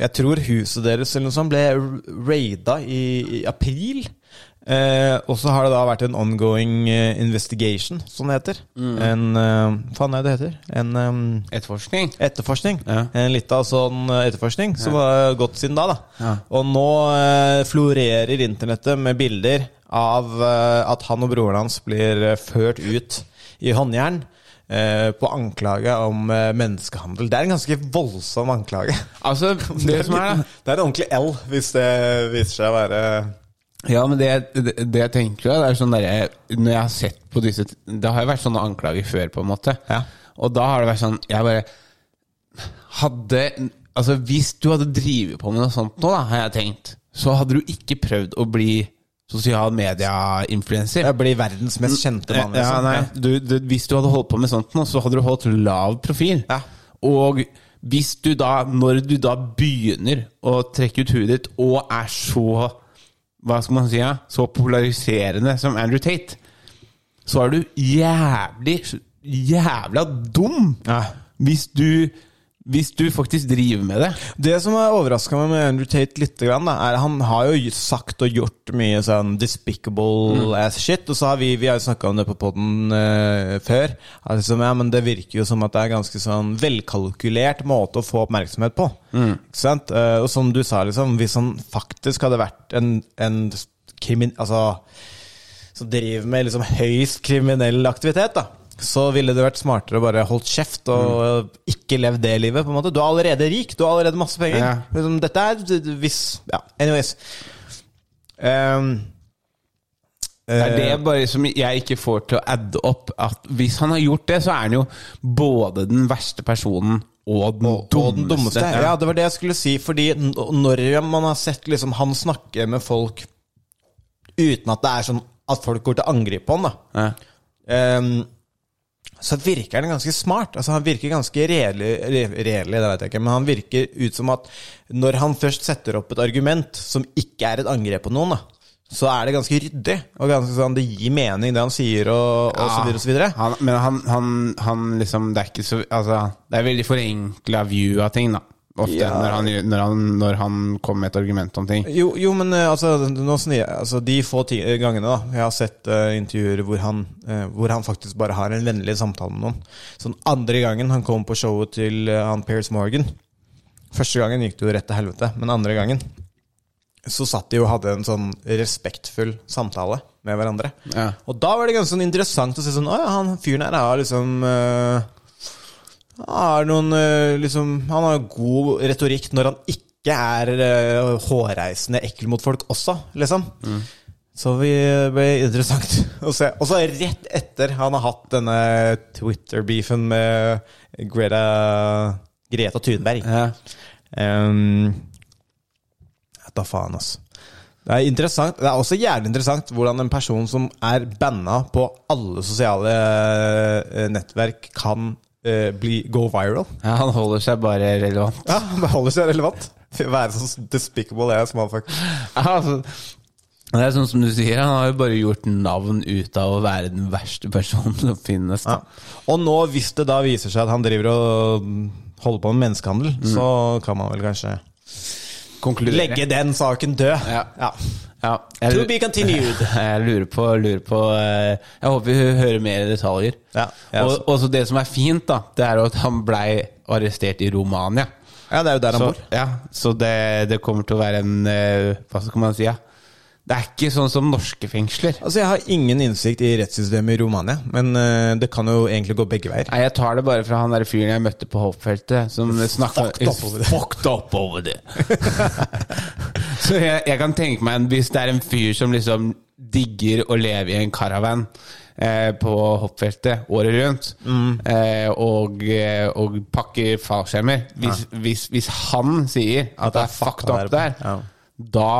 jeg tror huset deres eller noe sånt ble r- raida i, i april. Eh, og så har det da vært en ongoing eh, investigation, som det heter. En eh, Faen, er det det heter? En em,
Etterforskning?
etterforskning.
Ja.
En litt av sånn etterforskning som har gått siden da. da. Og nå eh, florerer internettet med bilder av eh, at han og broren hans blir eh, ført ut i håndjern eh, på anklage om eh, menneskehandel. Det er en ganske voldsom anklage.
Altså, det som er, da
det er en ordentlig L, hvis det viser seg å være
Ja, men det, det, det jeg tenker da, det er sånn derre Når jeg har sett på disse Det har jo vært sånne anklager før, på en måte.
Ja.
Og da har det vært sånn Jeg bare Hadde Altså, hvis du hadde drevet på med noe sånt nå, da, har jeg tenkt, så hadde du ikke prøvd å bli sosial media-influencer.
Jeg blir verdens mest kjente mann.
Ja,
liksom.
nei, du, du, hvis du hadde holdt på med sånt nå, så hadde du holdt lav profil.
Ja.
Og hvis du da, når du da begynner å trekke ut huet ditt, og er så Hva skal man si? Ja? Så polariserende som Andrew Tate, så er du jævlig Jævla dum!
Ja.
Hvis du hvis du faktisk driver med det.
Det som har overraska meg med Andrew Tate, litt, grann, da, er at han har jo sagt og gjort mye sånn despicable ass shit. Og så har vi, vi har jo snakka om det på poden før. At liksom, ja, men det virker jo som at det er ganske sånn velkalkulert måte å få oppmerksomhet på. Ikke sant? Eh, og som du sa, liksom, hvis han faktisk hadde vært en, en krimin... Altså som driver med liksom høyst kriminell aktivitet, da, så ville det vært smartere å bare holdt kjeft
Mm.
og ikke levd det livet. på en måte. Du er allerede rik, du har allerede masse penger.
Ja.
Liksom, Dette er d- d- hvis Ja, anyways. Ehm, Eh,
Det er det bare som jeg ikke får til å adde opp. At hvis han har gjort det, så er han jo både den verste personen og den dummeste.
og den dummeste. Ja, det var det jeg skulle si. Fordi n- når man har sett liksom, han snakke med folk uten at det er sånn at folk går til angrep på han, da.
Ja.
Ehm, så virker han ganske smart. Altså Han virker ganske redelig, re- redelig det vet jeg ikke, men han virker ut som at når han først setter opp et argument som ikke er et angrep på noen, da, så er det ganske ryddig. Og ganske sånn, Det gir mening, det han sier, og, og så videre og så videre.
Han, men han, han, han liksom Det er ikke så Altså, det er veldig forenkla view av ting, da. Ofte
Ja.
når, han, gjør- når, han, når han kommer med et argument om ting.
Jo, jo men eh, altså, nå snir jeg, altså, de få ti gangene da, jeg har sett eh, intervjuer hvor han, eh, hvor han faktisk bare har en vennlig samtale med noen. Sånn andre gangen han kom på showet til eh, han Piers Morgan. Første gangen gikk det jo rett til helvete, men andre gangen så satt de og hadde en sånn respektfull samtale med hverandre.
Ja.
Og da var det ganske sånn interessant å se sånn Å ja, han fyren her har liksom eh, har noen, eh, liksom, han har god retorikk når han ikke er eh, hårreisende ekkel mot folk også, liksom. Så vi det ble interessant å se. Og så rett etter han har hatt denne Twitter-beefen med Greta, Greta Thunberg.
Ja.
Ehm, da faen, altså. Det er interessant, det er også jævlig interessant hvordan en person som er banna på alle sosiale eh, nettverk, kan eh, bli, gå viral.
Ja, han holder seg bare relevant.
Ja, Det holder seg relevant. Være så despicable ass motherfucker.
Ja, altså, det er sånn som du sier, han har jo bare gjort navn ut av å være den verste personen som finnes.
Ja.
Da.
Og nå, hvis det da viser seg at han driver og mm, holder på med menneskehandel, så kan man vel kanskje
Konkludere.
legge den saken død.
Ja. Ja,
To be continued.
Jeg lurer på, lurer på eh, Jeg håper vi hører mer detaljer.
Ja, jeg
og,
også.
og så det som er fint, da, det er jo at han blei arrestert i Romania.
Ja, det er jo der han
Så,
bor.
ja, så det, det kommer til å være en eh, Hva skal man si? Ja? Det er ikke sånn som norske fengsler.
Altså, Jeg har ingen innsikt i rettssystemet i Romania, men eh, det kan jo egentlig gå begge veier.
Nei, Jeg tar det bare fra han der fyren jeg møtte på Hope-feltet. Som snakka
fucked up over det.
Fucked up over det. Så jeg, jeg kan tenke meg en, hvis det er en fyr som liksom digger å leve i en caravan eh, på hoppfeltet året rundt,
Mm.
eh, og, eh, og pakker fallskjermer hvis, hvis, hvis han sier at det er fucked up der,
Ja.
da,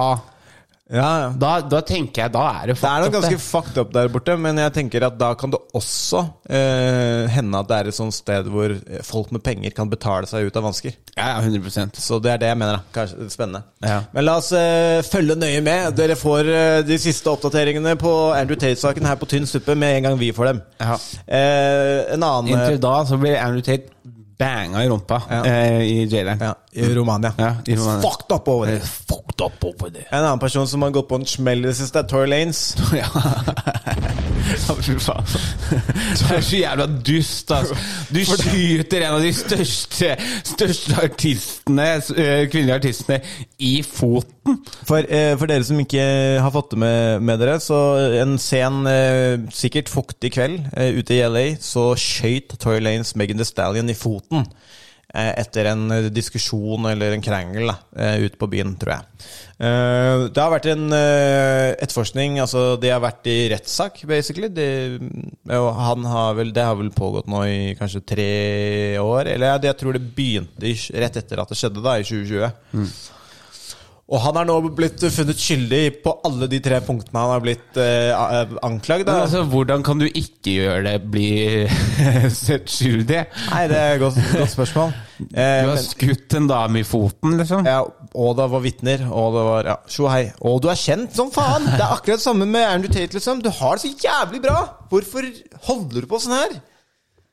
Ja, ja.
da, da tenker jeg da er det
Det er
fucked up
nok ganske
der.
fucked up der borte, men jeg tenker at da kan det også eh, hende at det er et sånt sted hvor folk med penger kan betale seg ut av vansker.
Ja, ja, 100
Så det er det jeg mener. da. Kanskje det er spennende.
Ja.
Men la oss eh, følge nøye med. Dere får eh, de siste oppdateringene på Andrew Tate-saken her på tynn suppe med en gang vi får dem.
Ja.
Eh, en annen
Inntil da så blir Andrew Tate banga i rumpa
Ja.
eh, i jaileren.
ja, I Romania.
Ja, i Romania.
Fucked up over det.
Fucked up over det.
En annen person som har gått på en smell i det siste, er Tory Lanes.
Ja. ja, fy faen. Du er så jævla dust, altså. Du skyter en av de største, største artistene, eh, kvinnelige artistene i foten.
For, eh, for dere som ikke har fått det med, med dere, så en sen, eh, sikkert fuktig kveld eh, ute i LA, så skøyt Tory Lanes Megan Thee Stallion i foten. Eh, etter en eh, diskusjon eller en krangel da, eh, ute på byen, tror jeg. Eh, det har vært en eh, etterforskning, altså de har vært i rettssak, basically. De, og han har vel, det har vel pågått nå i kanskje tre år, eller jeg, jeg tror det begynte i, rett etter at det skjedde, da, i 2020. Og han er nå blitt funnet skyldig på alle de tre punktene han har blitt eh, a-
Men
anklagd. Da.
altså, hvordan kan du ikke gjøre det, bli sett skyldig?
Nei, det er et godt, godt spørsmål. Eh,
Du har
men,
skutt en dame i foten, liksom.
ja, og det var vitner, og det var ja, Sjo hei. Og du er kjent som faen! Det er akkurat det samme med Andrew Tate, liksom. Du har det så jævlig bra! Hvorfor holder du på sånn her?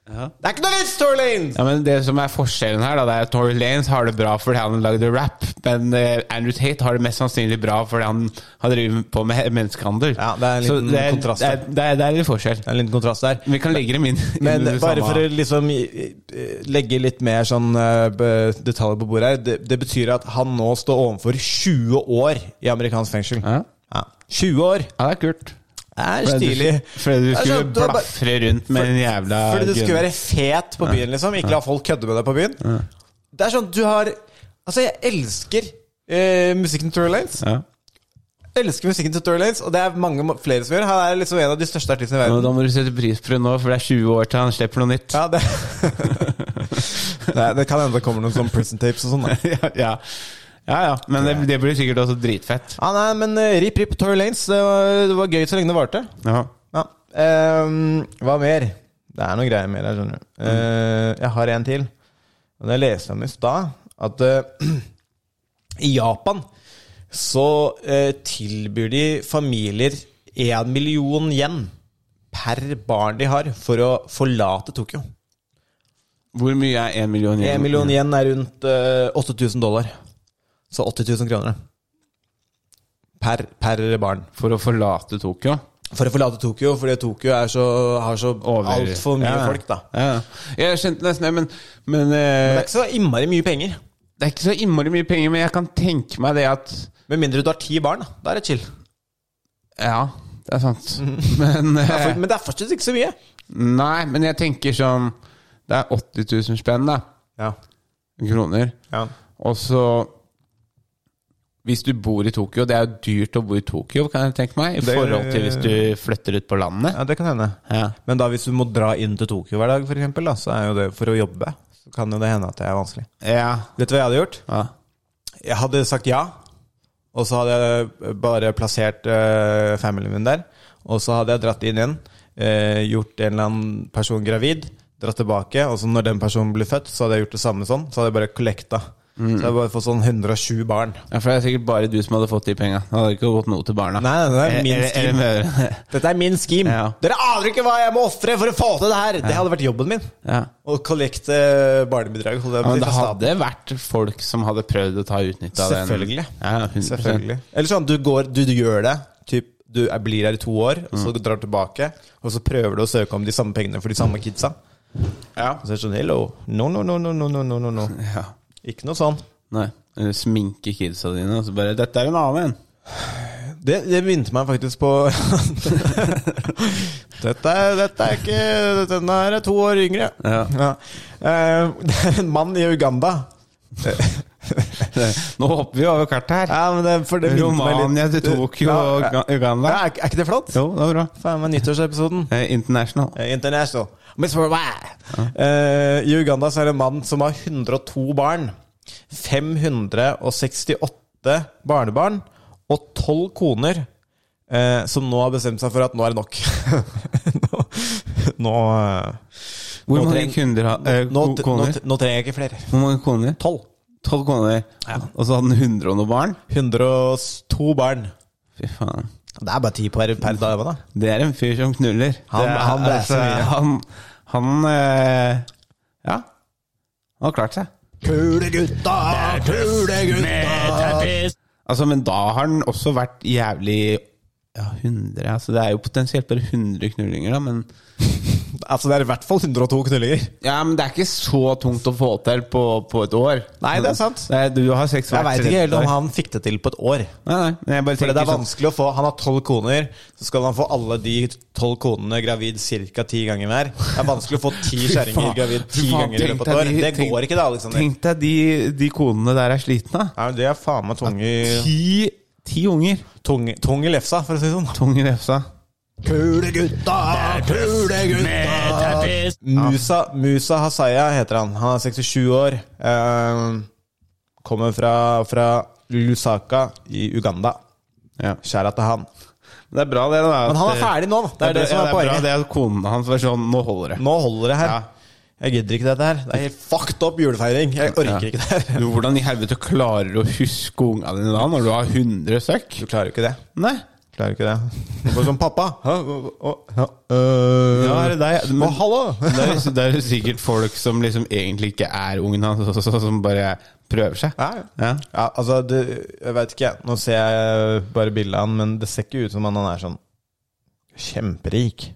Det er ikke noe vits, Torlane!
Ja, men Det som er forskjellen her, da, det er at Tory Lanes har det bra fordi han lagde rap, men eh, Andrew Tate har det mest sannsynlig bra fordi han har drevet på med menneskehandel.
Ja, det er en
Så
liten
det er,
kontrast
Det
der.
er, det er, det er litt forskjell.
Det er en liten kontrast der.
Vi kan legge dem inn.
Men
under det
bare
samme.
for å liksom i- i- legge litt mer sånn eh, be- detaljer på bordet her. Det, det betyr at han nå står overfor 20 år i amerikansk fengsel.
Ja.
Ja. 20 år!
Ja, det er kult.
er stilig.
Fordi du
Det er
skulle
sånn, du bare-
blafre rundt med en jævla
Fordi du skulle
gun.
være fet på byen, liksom. Ikke la folk kødde med deg på byen. Det er sånn, du har Altså, jeg elsker eh, musikken til Tory Lanes.
ja.
Elsker musikken til Tory Lanes, og det er mange ma- flere som gjør. Han er liksom en av de største artistene i
Men
verden.
Da må du sette pris på det nå, for det er 20 år til han slipper noe nytt.
Ja, det Nei, Det kan hende det kommer noen sånn prison tapes og sånn. da.
ja, ja. ja, ja. Men det, det blir sikkert også dritfett.
Ja, nei, men eh, rip, rip Tory Lanes. Det var, det var gøy så lenge det varte.
Ja.
Ja. Ehm, hva mer? Det er noen greier mer her, skjønner du. Eh, jeg har en til. Og det leste jeg om i stad. At eh, i Japan så eh, tilbyr de familier én million yen per barn de har, for å forlate Tokyo.
Hvor mye er én million
Én million yen er rundt eh, 8000 dollar. Så 80 000 kroner. Per, per barn.
for å forlate Tokyo?
For å forlate Tokyo, fordi Tokyo er så, har så
Over-
altfor mye
Ja, ja.
folk, da.
Ja. ja. Jeg skjønte nesten det, men, men,
Det
eh,
er ikke så innmari mye penger.
det er ikke så innmari mye penger, men jeg kan tenke meg det at
Med mindre du har ti barn, da. Da er det chill.
Ja, det er sant. Men
Det er
eh,
for- Men det er fortsatt ikke så mye.
Nei, men jeg tenker sånn Det er 80 000 spenn, da.
Ja.
Kroner.
ja.
Og så Hvis du bor i Tokyo Det er jo dyrt å bo i Tokyo, kan jeg tenke meg. I
Det-
forhold til hvis du flytter ut på landet.
det kan hende.
Ja.
Men da hvis du må dra inn til Tokyo hver dag, for eksempel, da, så er jo det for å jobbe, så kan jo det hende at det er vanskelig.
Ja.
Vet du hva jeg hadde gjort?
ja.
Jeg hadde sagt ja, og så hadde jeg bare plassert eh, familien min der. Og så hadde jeg dratt inn igjen, eh, gjort en eller annen person gravid, dratt tilbake. Og så når den personen ble født, så hadde jeg gjort det samme sånn. Så hadde jeg bare kollekta. Så hadde jeg bare fått sånn 107 barn.
Ja, For det er sikkert bare du som hadde fått de penga. Det hadde ikke gått noe til barna.
Nei, nei, det er min
Eller- eller
stil.
mødrene.
Dette er min scheme.
Ja.
Dere aner ikke hva jeg må ofre for å få til det her! Det hadde vært jobben min.
Ja.
Å kollekte barnebidrag. holdt
Ja,
jeg på å si,
men det
fra staten.
hadde vært folk som hadde prøvd å ta utnytte av den.
Selvfølgelig.
Ja, 100%.
Selvfølgelig. Eller sånn, du, går, du, du gjør det. Typ, du er, blir her i to år, og
Mm.
så drar du tilbake. Og så prøver du å søke om de samme pengene for de samme kidsa.
Ja.
Og så er det sånn, hello, no, no, no, no, no, no, no, no, no.
ja.
Ikke noe sånn.
Nei. Eller Sminke kidsa dine, og så bare 'Dette er en annen en'.
Det, det begynte meg faktisk på dette, er- dette er ikke Denne her er to år yngre.
Ja.
Eh, det er en mann i Uganda.
Nå hopper vi over kartet her.
Ja, men det, for det begynte meg litt-
Romania til Tokyo og
ja,
Uga- Uganda.
ja, er, er ikke det flott?
Jo, det var bra.
Faen meg nyttårsepisoden.
Eh, International.
Eh, International. Miss Worldwide. Eh, I Uganda så er det en mann som har 102 barn. 568 barnebarn og 12 koner. Eh, som nå har bestemt seg for at nå er det nok. nå nå, eh,
Hvor
nå
mange
treng-
kunder har eh,
nå,
ko-
nå,
koner?
nå trenger jeg ikke flere.
Hvor mange koner?
12.
Tolv koner. Og så hadde han 100 og noe barn?
102 barn.
Fy faen.
Det er bare 10 per, per dame, da.
Det er en fyr som knuller.
Han-
det er,
han blæser mye.
Han, han eh, Ja. Han har klart seg.
Kulegutta, kulegutta.
Altså, men da har han også vært jævlig Ja, 100 altså, Det er jo potensielt bare 100 knullinger, da, men
Altså, det er i hvert fall 102 knullinger.
Ja, men det er ikke så tungt å få til på, på et år.
Nei, det er sant.
Nei, du har sex
Jeg
hvert
veit ikke
tredje
helt om
år.
han fikk det til på et år.
Nei, nei, men jeg bare
Fordi
tenker
det er
sånn-
vanskelig å få Han har tolv koner, så skal han få alle de tolv konene gravid ca. ti ganger hver. Det er vanskelig å få ti
Fy
kjerringer
faen.
gravid ti
Fy faen,
ganger i
tenk
løpet av et
deg
år.
de-
Det
tenk-
går ikke, liksom. det, Alexander.
Tenk deg de, de konene der er slitne. da.
Nei, men det er faen meg tung i
Ti, ti unger.
tung- Tung i lefsa, for å si det sånn.
Tung i refsa.
Kulegutta, kulegutta. Musa, Musa Hasaya heter han. Han er 67 år. Eh, kommer fra, fra Lusaka i Uganda.
Ja.
Kjære til han.
Det er bra, det. da
Men han
at-
er ferdig nå, da. Det er det som
ja,
er
bra,
poenget.
Det er at konene hans var sånn Nå holder det.
Nå holder det her.
Ja.
Jeg gidder ikke dette her. Det er helt fucked up julefeiring. Jeg orker
Ja.
ikke det her.
Du, hvordan i helvete klarer du å huske unga dine da, når du har 100 stykk?
Du klarer jo ikke det.
Nei.
Klarer ikke det. Du får sånn pappa. Hæ? Å, å, ja, øh.
Ja, er det deg? Men-
Å, hallo!
Det er, det er jo sikkert folk som liksom egentlig ikke er ungen hans, og så- som bare prøver seg.
Ja,
Ja.
Ja, altså, det, jeg veit ikke. Nå ser jeg bare bildet av han, men det ser ikke ut som han han er sånn kjemperik.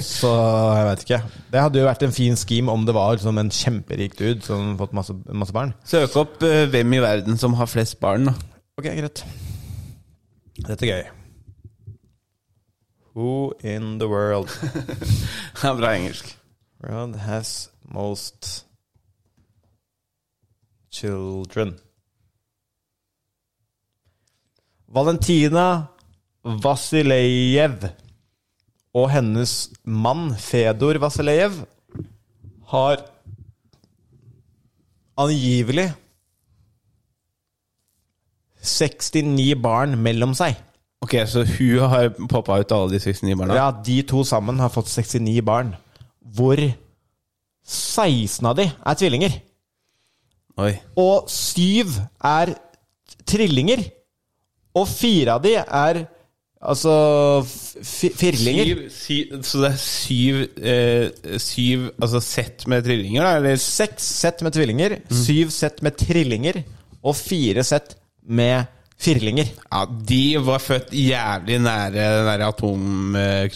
Så jeg veit ikke. Det hadde jo vært en fin scheme om det var liksom en kjemperik dude som fått masse, masse barn.
Søk opp eh, hvem i verden som har flest barn. Da.
Ok, greit. Dette er gøy. Who in the world
Det er bra engelsk.
world has most children? Valentina Vasilejev og hennes mann Fedor Vasilejev har angivelig 69 barn mellom seg.
Ok, så hun har poppa ut alle de 69 barna?
Ja, de to sammen har fått 69 barn, hvor 16 av de er tvillinger.
Oi.
Og 7 er trillinger. Og 4 av de er altså f- fi- firlinger.
Syv, syv, så det er syv, eh, syv Altså sett med trillinger, da? Eller
6 sett med tvillinger,
Mm.
7 sett med trillinger og 4 sett med firlinger.
Ja, de var født jævlig nære den der atomkraftgreia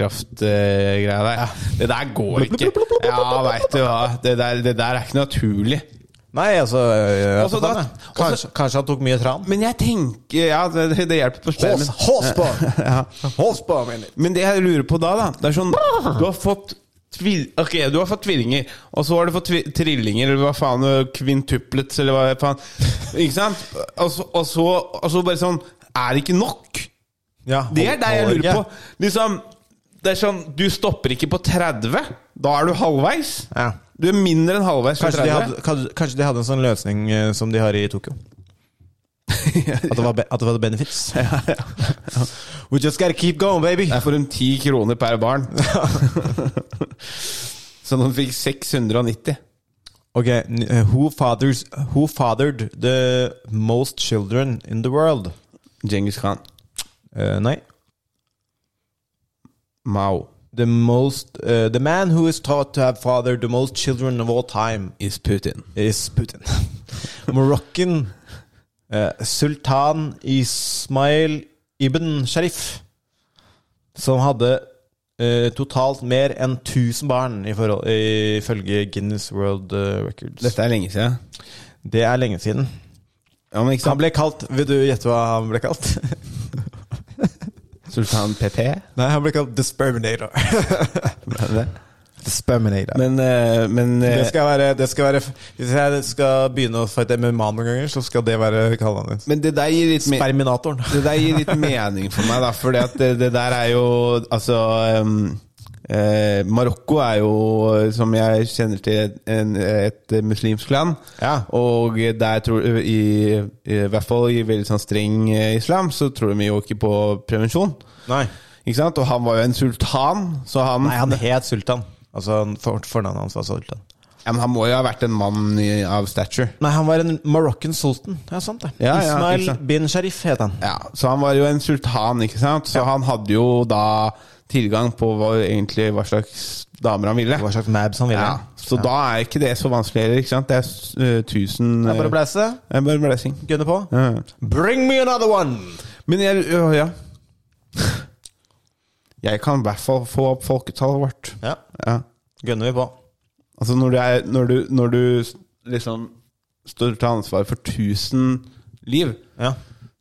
der. Det der går ikke. Ja, veit du hva. Det der, det der er ikke naturlig.
Nei, altså, øh,
Altså, da-
sånn, ja. kanskje, kanskje han tok mye tran?
Men jeg tenker Ja, det, det- det hjelper på
Hås,
spermen.
håsbarn!
Ja.
Håsbarn, mener jeg.
Men det jeg lurer på da, da Det er sånn Du har fått tvil, Ok, du har fått tvillinger, og så har du fått tvi, trillinger, eller hva faen Kvintuplets, eller hva faen. Ikke sant? Og så, og så, og så bare sånn Er det ikke nok?
Ja,
Det er
hold-
deg jeg
holder
lurer
ikke.
på. Liksom, det er sånn, Du stopper ikke på 30. Da er du halvveis.
Ja.
Du er mindre enn halvveis på
Kanskje de,
30.
hadde, kanskje, kanskje de hadde en sånn løsning eh, som de har i Tokyo. At det var, be, at det var benefits. We just gotta keep going, baby!
Jeg får dem 10 kroner per barn. Så de fikk 690.
Ok, n- eh, who, fathers, who fathered the most children in the world?
Djengis Khan.
Eh, nei.
Mao
The, most, eh, the man who is thought to have fathered the most children of all time
is Putin.
is Putin. Moroccan eh, sultan Ismail ibn Sharif, som hadde eh, totalt mer enn 1000 barn i forhold, ifølge Guinness World eh, Records.
Dette er lenge siden.
Det er lenge siden.
Ja, men ikke
Han
sant?
ble kalt Vil du gjette hva han ble kalt?
Sultan PP.
Nei, han ble kalt Disperminator. Disperminator.
Men, eh, men eh,
det skal være, det skal være Hvis jeg skal begynne å fighte MMA noen ganger, så skal det være kallenavnet hans.
men det der gir litt mer
Sperminatoren.
Det der gir litt mening for meg, da, for det, det der er jo Altså ehm, eh, Marokko er jo, som jeg kjenner til, en, et muslimsk land.
Ja.
Og der tror i, i hvert fall i veldig sånn streng eh, islam, så tror de jo ikke på prevensjon.
Nei.
Ikke sant? Og han var jo en sultan, så han,
Nei, han het Sultan. Altså, han- for, fornavnet hans var Sultan.
ja, men han må jo ha vært en mann i, av stature.
Nei, han var en Moroccan sultan. Ja, sant det.
Ja, ja,
Ismail
ikke sant.
bin Sharif het han.
Ja, så han var jo en sultan, ikke sant? Så han hadde jo da tilgang på hva, egentlig hva slags damer han ville.
Hva slags nabs han ville.
Ja, så da er ikke det så vanskelig heller, ikke sant? Det er uh, tusen
Det er bare
eh,
å blæse.
det er bare blæsing.
Gunne på.
Ja.
Bring me another one!
Men jeg øh, Ja. Jeg kan i hvert fall få opp folketallet vårt.
Ja,
Ja.
gunner vi på.
Altså når du, er, når, du, når du s- liksom står til ansvar for 1000 liv,
Ja.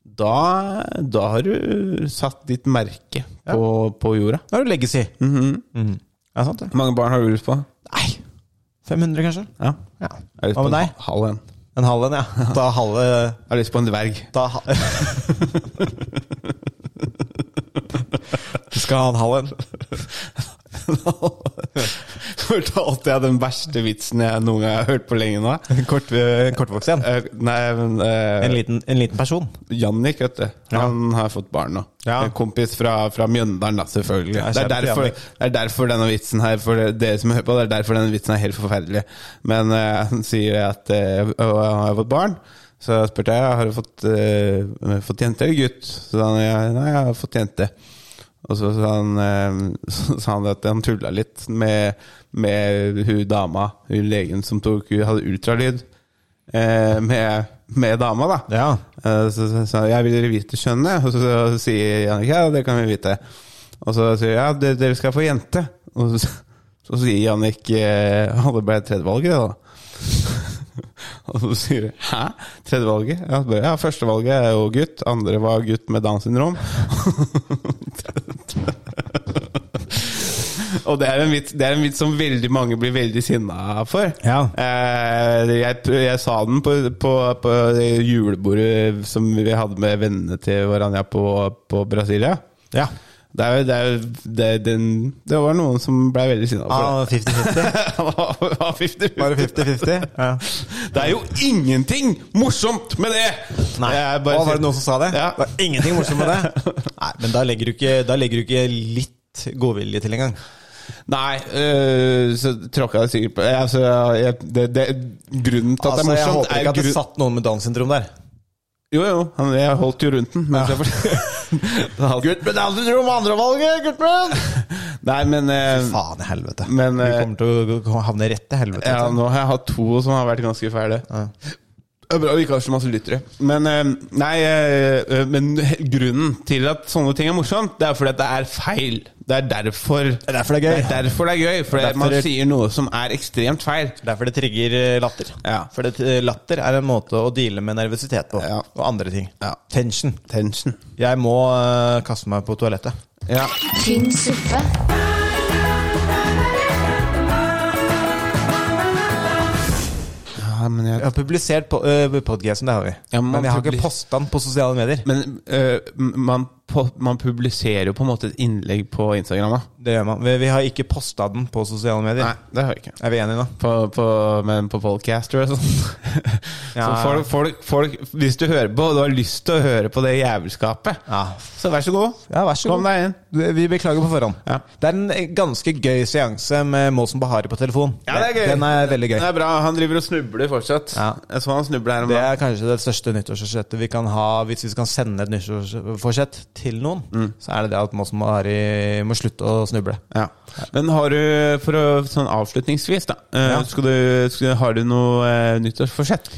da, da har du satt ditt merke på, på jorda.
Da har du legacy. Mhm. Ja, sant det.
Hvor mange barn har du lyst på?
Nei, 500 kanskje?
Ja.
Ja.
Jeg har lyst
Hva
på en
med deg?
ha- halv en.
En halv en, ja. Da halve
Jeg har lyst på en dverg.
da ha Du skal ha en halv en.
Fortalte jeg den verste vitsen jeg noen gang har hørt på lenge nå?
En kort, en kortvokst igjen.
Eh, nei, men eh,
En liten, en liten person.
Jannik, vet du. Han har fått barn nå.
Ja.
En kompis fra, fra Mjøndalen, da, selvfølgelig.
Ja,
Det er,
kjære til
derfor,
Jannik.
det er derfor denne vitsen her For dere som hører på, det er derfor denne vitsen er helt forferdelig. Men eh, han sier at eh, «Å, Har jeg fått barn? Så spurte jeg har du fått, eh, fått jente eller gutt. Så sa han «Ja, nei, jeg har fått jente. Og så sa han, eh, så sa han at han tulla litt med, med hun dama, hun legen som tok, hun hadde ultralyd eh, med, med dama, da.
Ja.
Eh, Så sa han jeg vil dere vite kjønnet, og så, så sier Jannik ja, det kan vi vite. Og så sier jeg ja, de- dere skal få jente. Og så, så sier Jannik eh, ja, det ble tredjevalget, da. og så sier jeg hæ? Tredjevalget? Ja, så bare, ja, førstevalget er jo gutt, andre var gutt med Downs syndrom. Og det er en vits, det er en vits som veldig mange blir veldig sinna for.
Ja.
Eh, jeg, jeg sa den på, på, på det julebordet som vi hadde med vennene til Varanja på, på Brasilia.
Ja.
Det, er, jo- det, er, jo- det, den, det var noen som ble veldig sinna for det.
Ah, 50-50.
Han var- var 50.
Bare 50-50? Ja.
Det er jo ingenting morsomt med det!
Nei.
Jeg bare
Å, var
sier-
det noen som sa det?
Ja.
Det er ingenting morsomt med det. Nei, men da legger du ikke, da legger du ikke litt godvilje til engang.
Nei, øh, så tråkka jeg sikkert på jeg, altså, jeg, det, det, Grunnen til at det er
Altså, jeg
morsomt,
håper ikke
er
at det
grunn...
satt noen med Downs syndrom der.
Jo, jo, han, jeg holdt jo rundt den. Mens jeg for... Gutt med Downs syndrom, andrevalget, Gudmund! Nei, men øh,
Faen i helvete.
Men,
Vi
eh,
kommer til å gå- havne rett til helvete. liksom.
ja,
vet du.
nå har jeg hatt to som har vært ganske fæle. Det er bra vi ikke har så masse lyttere. Men, øh, nei, øh, øh, men he- grunnen til at sånne ting er morsomt, det er fordi at det er feil. Det er derfor
Det er derfor det er gøy.
Det er derfor det er gøy, fordi
Derfor-
man sier noe som er ekstremt feil.
Derfor det trigger eh, latter.
Ja.
For det, eh, latter er en måte å deale med nervøsitet på,
Ja.
og andre ting.
Ja.
Tension.
Tension.
Jeg må eh, kaste meg på toalettet.
Ja.
tynn suppe,
ja, men jeg
Jeg har publisert på, uh, podcasten, det har vi.
Ja, men man
men jeg har
publis-
ikke posta den på sosiale medier.
Men øh, m- man, på, man publiserer jo på en måte et innlegg på Instagram, da.
Det gjør man. Vi, vi har ikke posta den på sosiale medier.
Nei, det har jeg ikke.
Er vi enige nå?
På, på, men på podcaster og sånn. Så
Ja.
folk, folk, folk, hvis du hører på, og du har lyst til å høre på det jævelskapet,
Ja.
så vær så god.
Ja, vær så
Kom
god.
deg inn.
Vi vi beklager på forhånd.
Ja.
Det er en eh, ganske gøy seanse med Måsen Bahari på telefon.
Ja, det er gøy.
Den er veldig gøy.
Det er bra. Han driver og snubler fortsatt.
Ja.
Jeg så han snubler her om
Det
dagen.
er kanskje det største nyttårsforsettet vi kan ha hvis vi kan sende et nyttårsforsett til noen. Så er det det at Måsen Bahari må slutte å snuble.
Mm. Ja. Men har du, for å sånn avslutningsvis, da øh,
Ja.
skal du, skal, Har du noe eh, nyttårsforsett?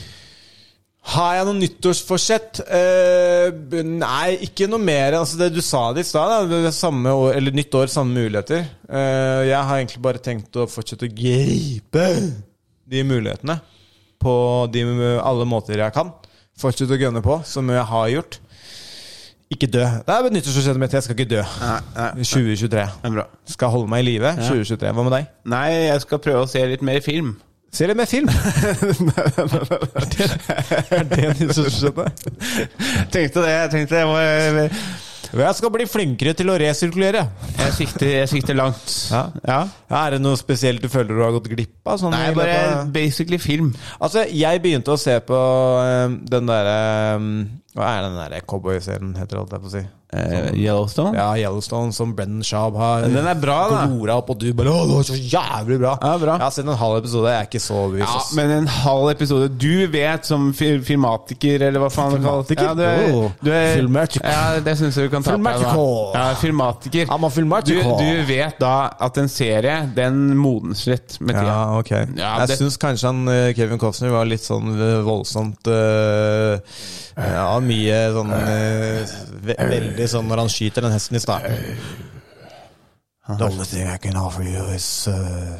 Har jeg noe nyttårsforsett? Eh, b- nei, ikke noe mer. Altså det Du sa det i stad. da. Det er Samme år, eller nytt år, samme muligheter. Eh, jeg har egentlig bare tenkt å fortsette å gripe de mulighetene på de, alle måter jeg kan. Fortsette å gønne på, som jeg har gjort. Ikke dø. Det er nyttårsforsettet mitt. Jeg skal ikke dø.
Nei, nei, nei.
2023.
Det er bra.
Skal holde meg i live. 2023. Hva med deg?
Nei, jeg skal prøve å se litt mer film.
Se litt mer film! er det nyttårsforsettet?
tenkte det. Jeg tenkte jeg,
eh,
var,
Jeg skal bli flinkere til å resirkulere.
jeg, sikter, jeg sikter langt.
Ja. Er det noe spesielt du føler du har gått glipp av? Sånn,
Nei,
i løpet
bare
av-
basically film.
Altså, jeg begynte å se på øhm, den derre øhm, Hva er den derre cowboyserien heter, holdt jeg på å si?
Yellowstone?
Ja, Eh, Yellowstone, som Brennan Schaub har
Men den er bra, da.
glora opp, og du bare Å, det var så jævlig bra!
Ja, bra.
Jeg har sett en halv episode, jeg er ikke så overbevist.
Ja,
ass.
men en halv episode. Du vet, som fi- filmatiker, eller hva faen det kalles
Filmatiker?
Ja, du er,
Oh,
du er,
filmatiker.
Ja, det syns jeg du kan ta på deg. da.
Filmatiker.
Ja, filmatiker.
I'm a filmatiker.
Du, du vet da at en serie, den modnes litt med tida.
Ja, ok.
Ja,
jeg
det-
syns kanskje han eh, Kevin Costner var litt sånn eh, voldsomt eh, Ja, mye sånn eh, ve Veldig sånn når han skyter den hesten i stad. The only thing I can offer you is eh,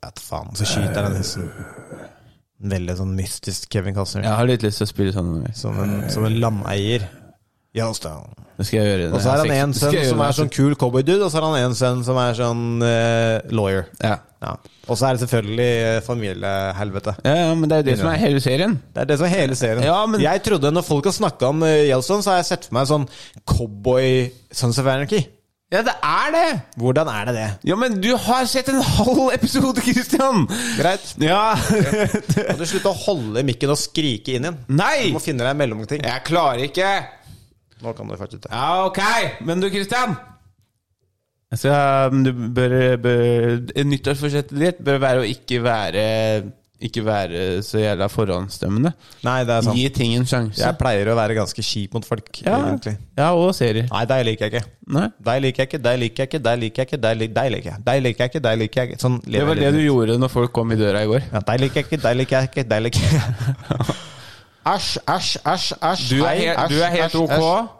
Vet faen, så skyter han den hesten. Veldig sånn mystisk Kevin Costner.
Jeg har litt lyst til å spille sånn.
Som, en, som en lameier. Yellowstone.
Det skal jeg gjøre.
Og så har han en sønn som er sånn kul cowboydude, og så har han en sønn som er sånn eh, lawyer.
ja.
Ja. Og så er det selvfølgelig eh, familiehelvete.
Ja, ja, men det er jo det som er hele serien.
Det er det som er hele serien.
Ja, men-
Jeg trodde Når folk har snakka om eh, Yellowstone, så har jeg sett for meg sånn cowboy Sons of Anarchy.
Ja, det er det!
Hvordan er det det?
Ja, men du har sett en halv episode, Christian!
Greit.
Ja
Kan du slutte å holde mikken og skrike inn igjen?
Nei!
Du må finne deg en mellomting.
Jeg klarer ikke!
Nå kan du fortsette.
Ja, ok! Men du, Christian? Altså, ja, men du bør, bør Nyttårsforsettet ditt bør være å ikke være Ikke være så jævla forhåndsdømmende.
Nei, det er sant.
Gi ting en sjanse.
Jeg pleier å være ganske kjip mot folk,
Ja,
egentlig.
ja og serier.
Nei, deg liker jeg ikke.
Nei.
Deg liker jeg ikke, deg liker jeg ikke, deg liker jeg ikke, deg liker deg liker jeg ikke. Deg liker jeg ikke, deg liker jeg ikke. Sånn
Det
lever
var det
jeg livet
du
mitt.
gjorde når folk kom i døra i går.
Ja, deg liker jeg ikke, deg liker jeg ikke, deg liker jeg ikke. Æsj, æsj, æsj, æsj.
Du er
Ei,
helt,
æsj,
du er helt
æsj,
ok.
æsj.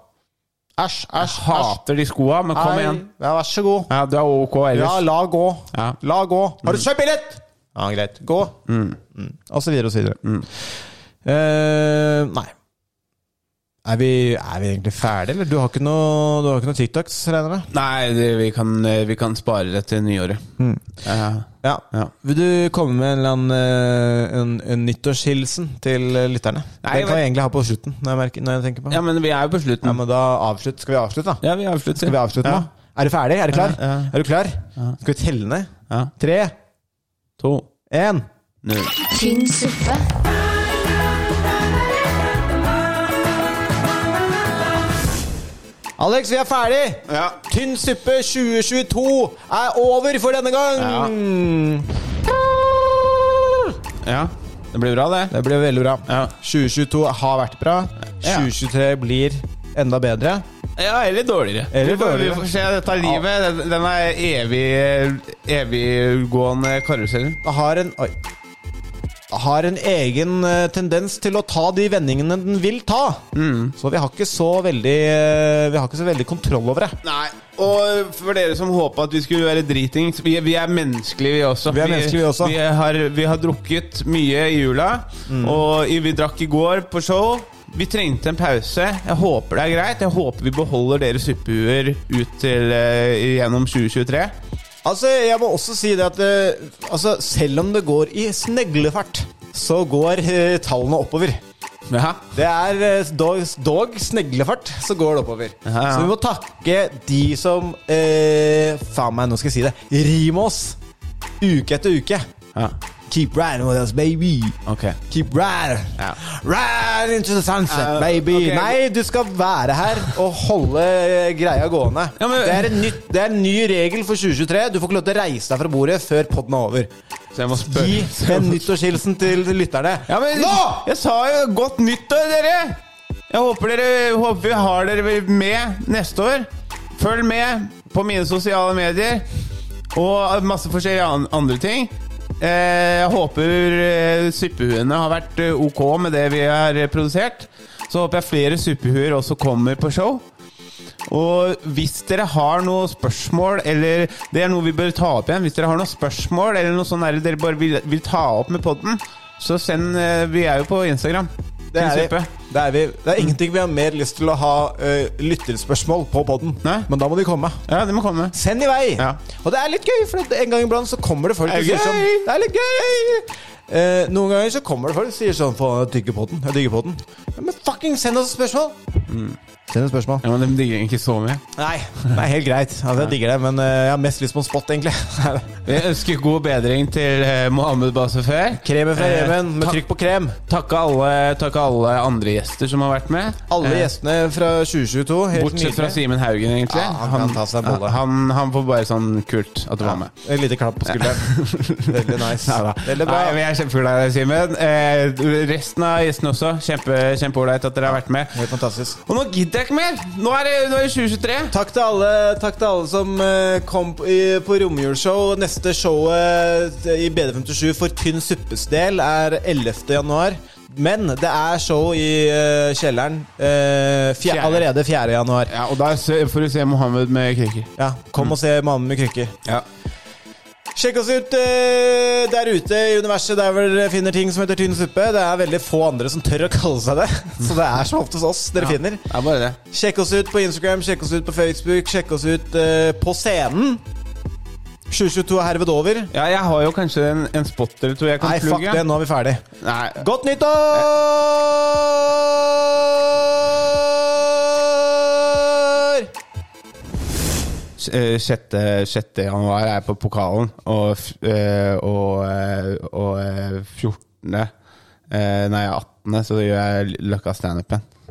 Æsj, æsj, æsj.
Hater de skoa, men kom
Ei,
igjen.
Ja, vær så god.
Ja, du er ok
Ja,
ellers.
la gå.
Ja. Mm.
La gå. Har du kjøpt billett? Ja, greit. Mm. Gå.
Mm.
Mm. Og så videre og så videre. Eh, nei. Er vi, er vi egentlig ferdige, eller? Du har ikke noe, du har ikke noe TikToks, regner jeg med?
Nei, det, vi, kan, eh, vi kan spare det til nyåret. Eh,
Ja.
Ja.
Vil du komme med en eller annen eh, en, en nyttårshilsen til eh, lytterne?
Nei,
Den kan vi
men-
egentlig ha på slutten, når jeg, merker, når jeg tenker på det.
ja, men vi er jo på
Ja,
slutten.
men da avslutt. Skal vi avslutte, da?
Ja, vi avslutter.
Skal vi avslutte
ja.
nå? Er du ferdig? Er du klar?
Ja, ja.
Er du klar? Skal vi telle ned?
Ja.
Tre,
To,
én
null.
tynn suppe.
Alex, vi er ferdig!
Ja.
Tynn suppe 2022 er over for denne gang!
ja. Det blir bra, det.
Det ble veldig bra.
Ja.
2022 har vært bra.
Ja.
2023 blir enda bedre.
Ja, eller dårligere.
Eller
Vi får-
dårligere.
Vi får se. Dette er livet. Den, den er evig eviggående karusell.
Det har en Oi. Det Har en egen eh, tendens til å ta de vendingene den vil ta. Så vi har ikke så veldig eh, Vi har ikke så veldig kontroll over det.
Nei. Og for dere som håpa at vi skulle være dritings vi, vi er menneskelige, vi også.
Vi er menneskelige, vi også. Mm.
Vi, har, vi har drukket mye i jula. Og i- vi drakk i går på show. Vi trengte en pause. Jeg håper det er greit. Jeg håper vi beholder dere suppehuer ut til eh, gjennom 2023.
Altså, jeg må også si det at eh, altså, selv om det går i sneglefart, så går eh, tallene oppover.
Ja.
Det er eh, dog, dog sneglefart, så går det oppover.
Ja, ja.
Så vi må takke de som eh, Faen meg, nå skal jeg si det. Rim oss uke etter uke.
ja.
Keep riding with us, baby.
Ok.
Keep riding.
Ja.
Riding into the sunset,
Eh,
baby.
ok.
Nei, du skal være her og holde eh, greia gående.
Ja, men-
det, er en nytt, det er en ny regel for 2023. Du får ikke lov til å reise deg fra bordet før podden er over.
Så jeg må
Gi
spørre
en nyttårshilsen til lytterne.
Ja, men
Nå!
Jeg sa jo godt nyttår, dere! Jeg håper, dere, håper vi har dere med neste år. Følg med på mine sosiale medier og masse forskjellige an- andre ting. Eh, Jeg håper eh, suppehuene har vært eh, ok med det vi har eh, produsert. Så håper jeg flere suppehuer også kommer på show. Og hvis dere har noe spørsmål, eller det er noe vi bør ta opp igjen Hvis dere har noe spørsmål eller noe sånt der dere bare vil, vil ta opp med podden, så send eh, Vi er jo på Instagram.
Det er, vi.
Prinsippet.
det er vi. Det er ingenting vi har mer lyst til å ha eh, lytterspørsmål på podden.
Nei.
Men da må de komme.
Ja, det må komme.
Send i vei!
Ja.
Og det er litt gøy, for at en gang iblant så kommer det folk
Det er
og sier sånn
gøy!
Det er litt gøy! Eh, noen ganger så kommer det folk og sier sånn Faen, jeg digger podden. Jeg digger podden. Ja, men fucking send oss spørsmål!
Mm.
Send oss spørsmål.
Ja, men De digger ikke så mye.
Nei, det er helt greit. Altså, jeg digger det, men eh, jeg har mest lyst på en spot, egentlig.
Vi ønsker god bedring til eh, Mohammed Basefeh.
Kremen fra
Eh,
Jemen, med
takk-
trykk på krem.
Takke alle, takke alle andre gjester som har vært med.
Alle
Eh,
gjestene fra 2022. Helt
Bortsett fra
nydelig.
Simen Haugen, egentlig.
Ja, han kan ta seg en bolle.
han, han får bare sånn kult at du var med.
Et lite klapp på skulderen. Veldig nice.
Neida.
Veldig bra.
Nei, men jeg er kjempeglad i deg, Simen. Eh, resten av gjestene også. Kjempe, Kjempeålreit at dere har vært med.
Helt fantastisk.
Og nå gidder jeg ikke mer! Nå er det, nå er det 2023.
Takk til alle, takk til alle som eh, kom på, i, på romjulsshow. Neste showet eh, i BD57 for Tynn suppes del er 11. januar. Men det er show i eh, kjelleren eh, fjer,
Fjerde.
allerede 4. januar.
Ja, og da se- får du se Mohammed med kriker.
Ja, kom og se Mannen med krykker.
Ja.
Sjekk oss ut eh, der ute i universet der hvor dere finner ting som heter tynn suppe. Det er veldig få andre som tør å kalle seg det, så det er som oftest oss dere finner.
Det er bare det.
Sjekk oss ut på Instagram, sjekk oss ut på Facebook, sjekk oss ut eh, på scenen. 2022 er herved over.
Ja, jeg har jo kanskje en, en spot eller to jeg kan
Nei, fuck
plugge.
det, nå er vi ferdig.
Nei,
Godt nyttår!
Eh, sjette, sjette januar er jeg på pokalen, og, f- eh, og, eh, og eh, 14. eh, Nei, 18. så gjør jeg Løkka standupen.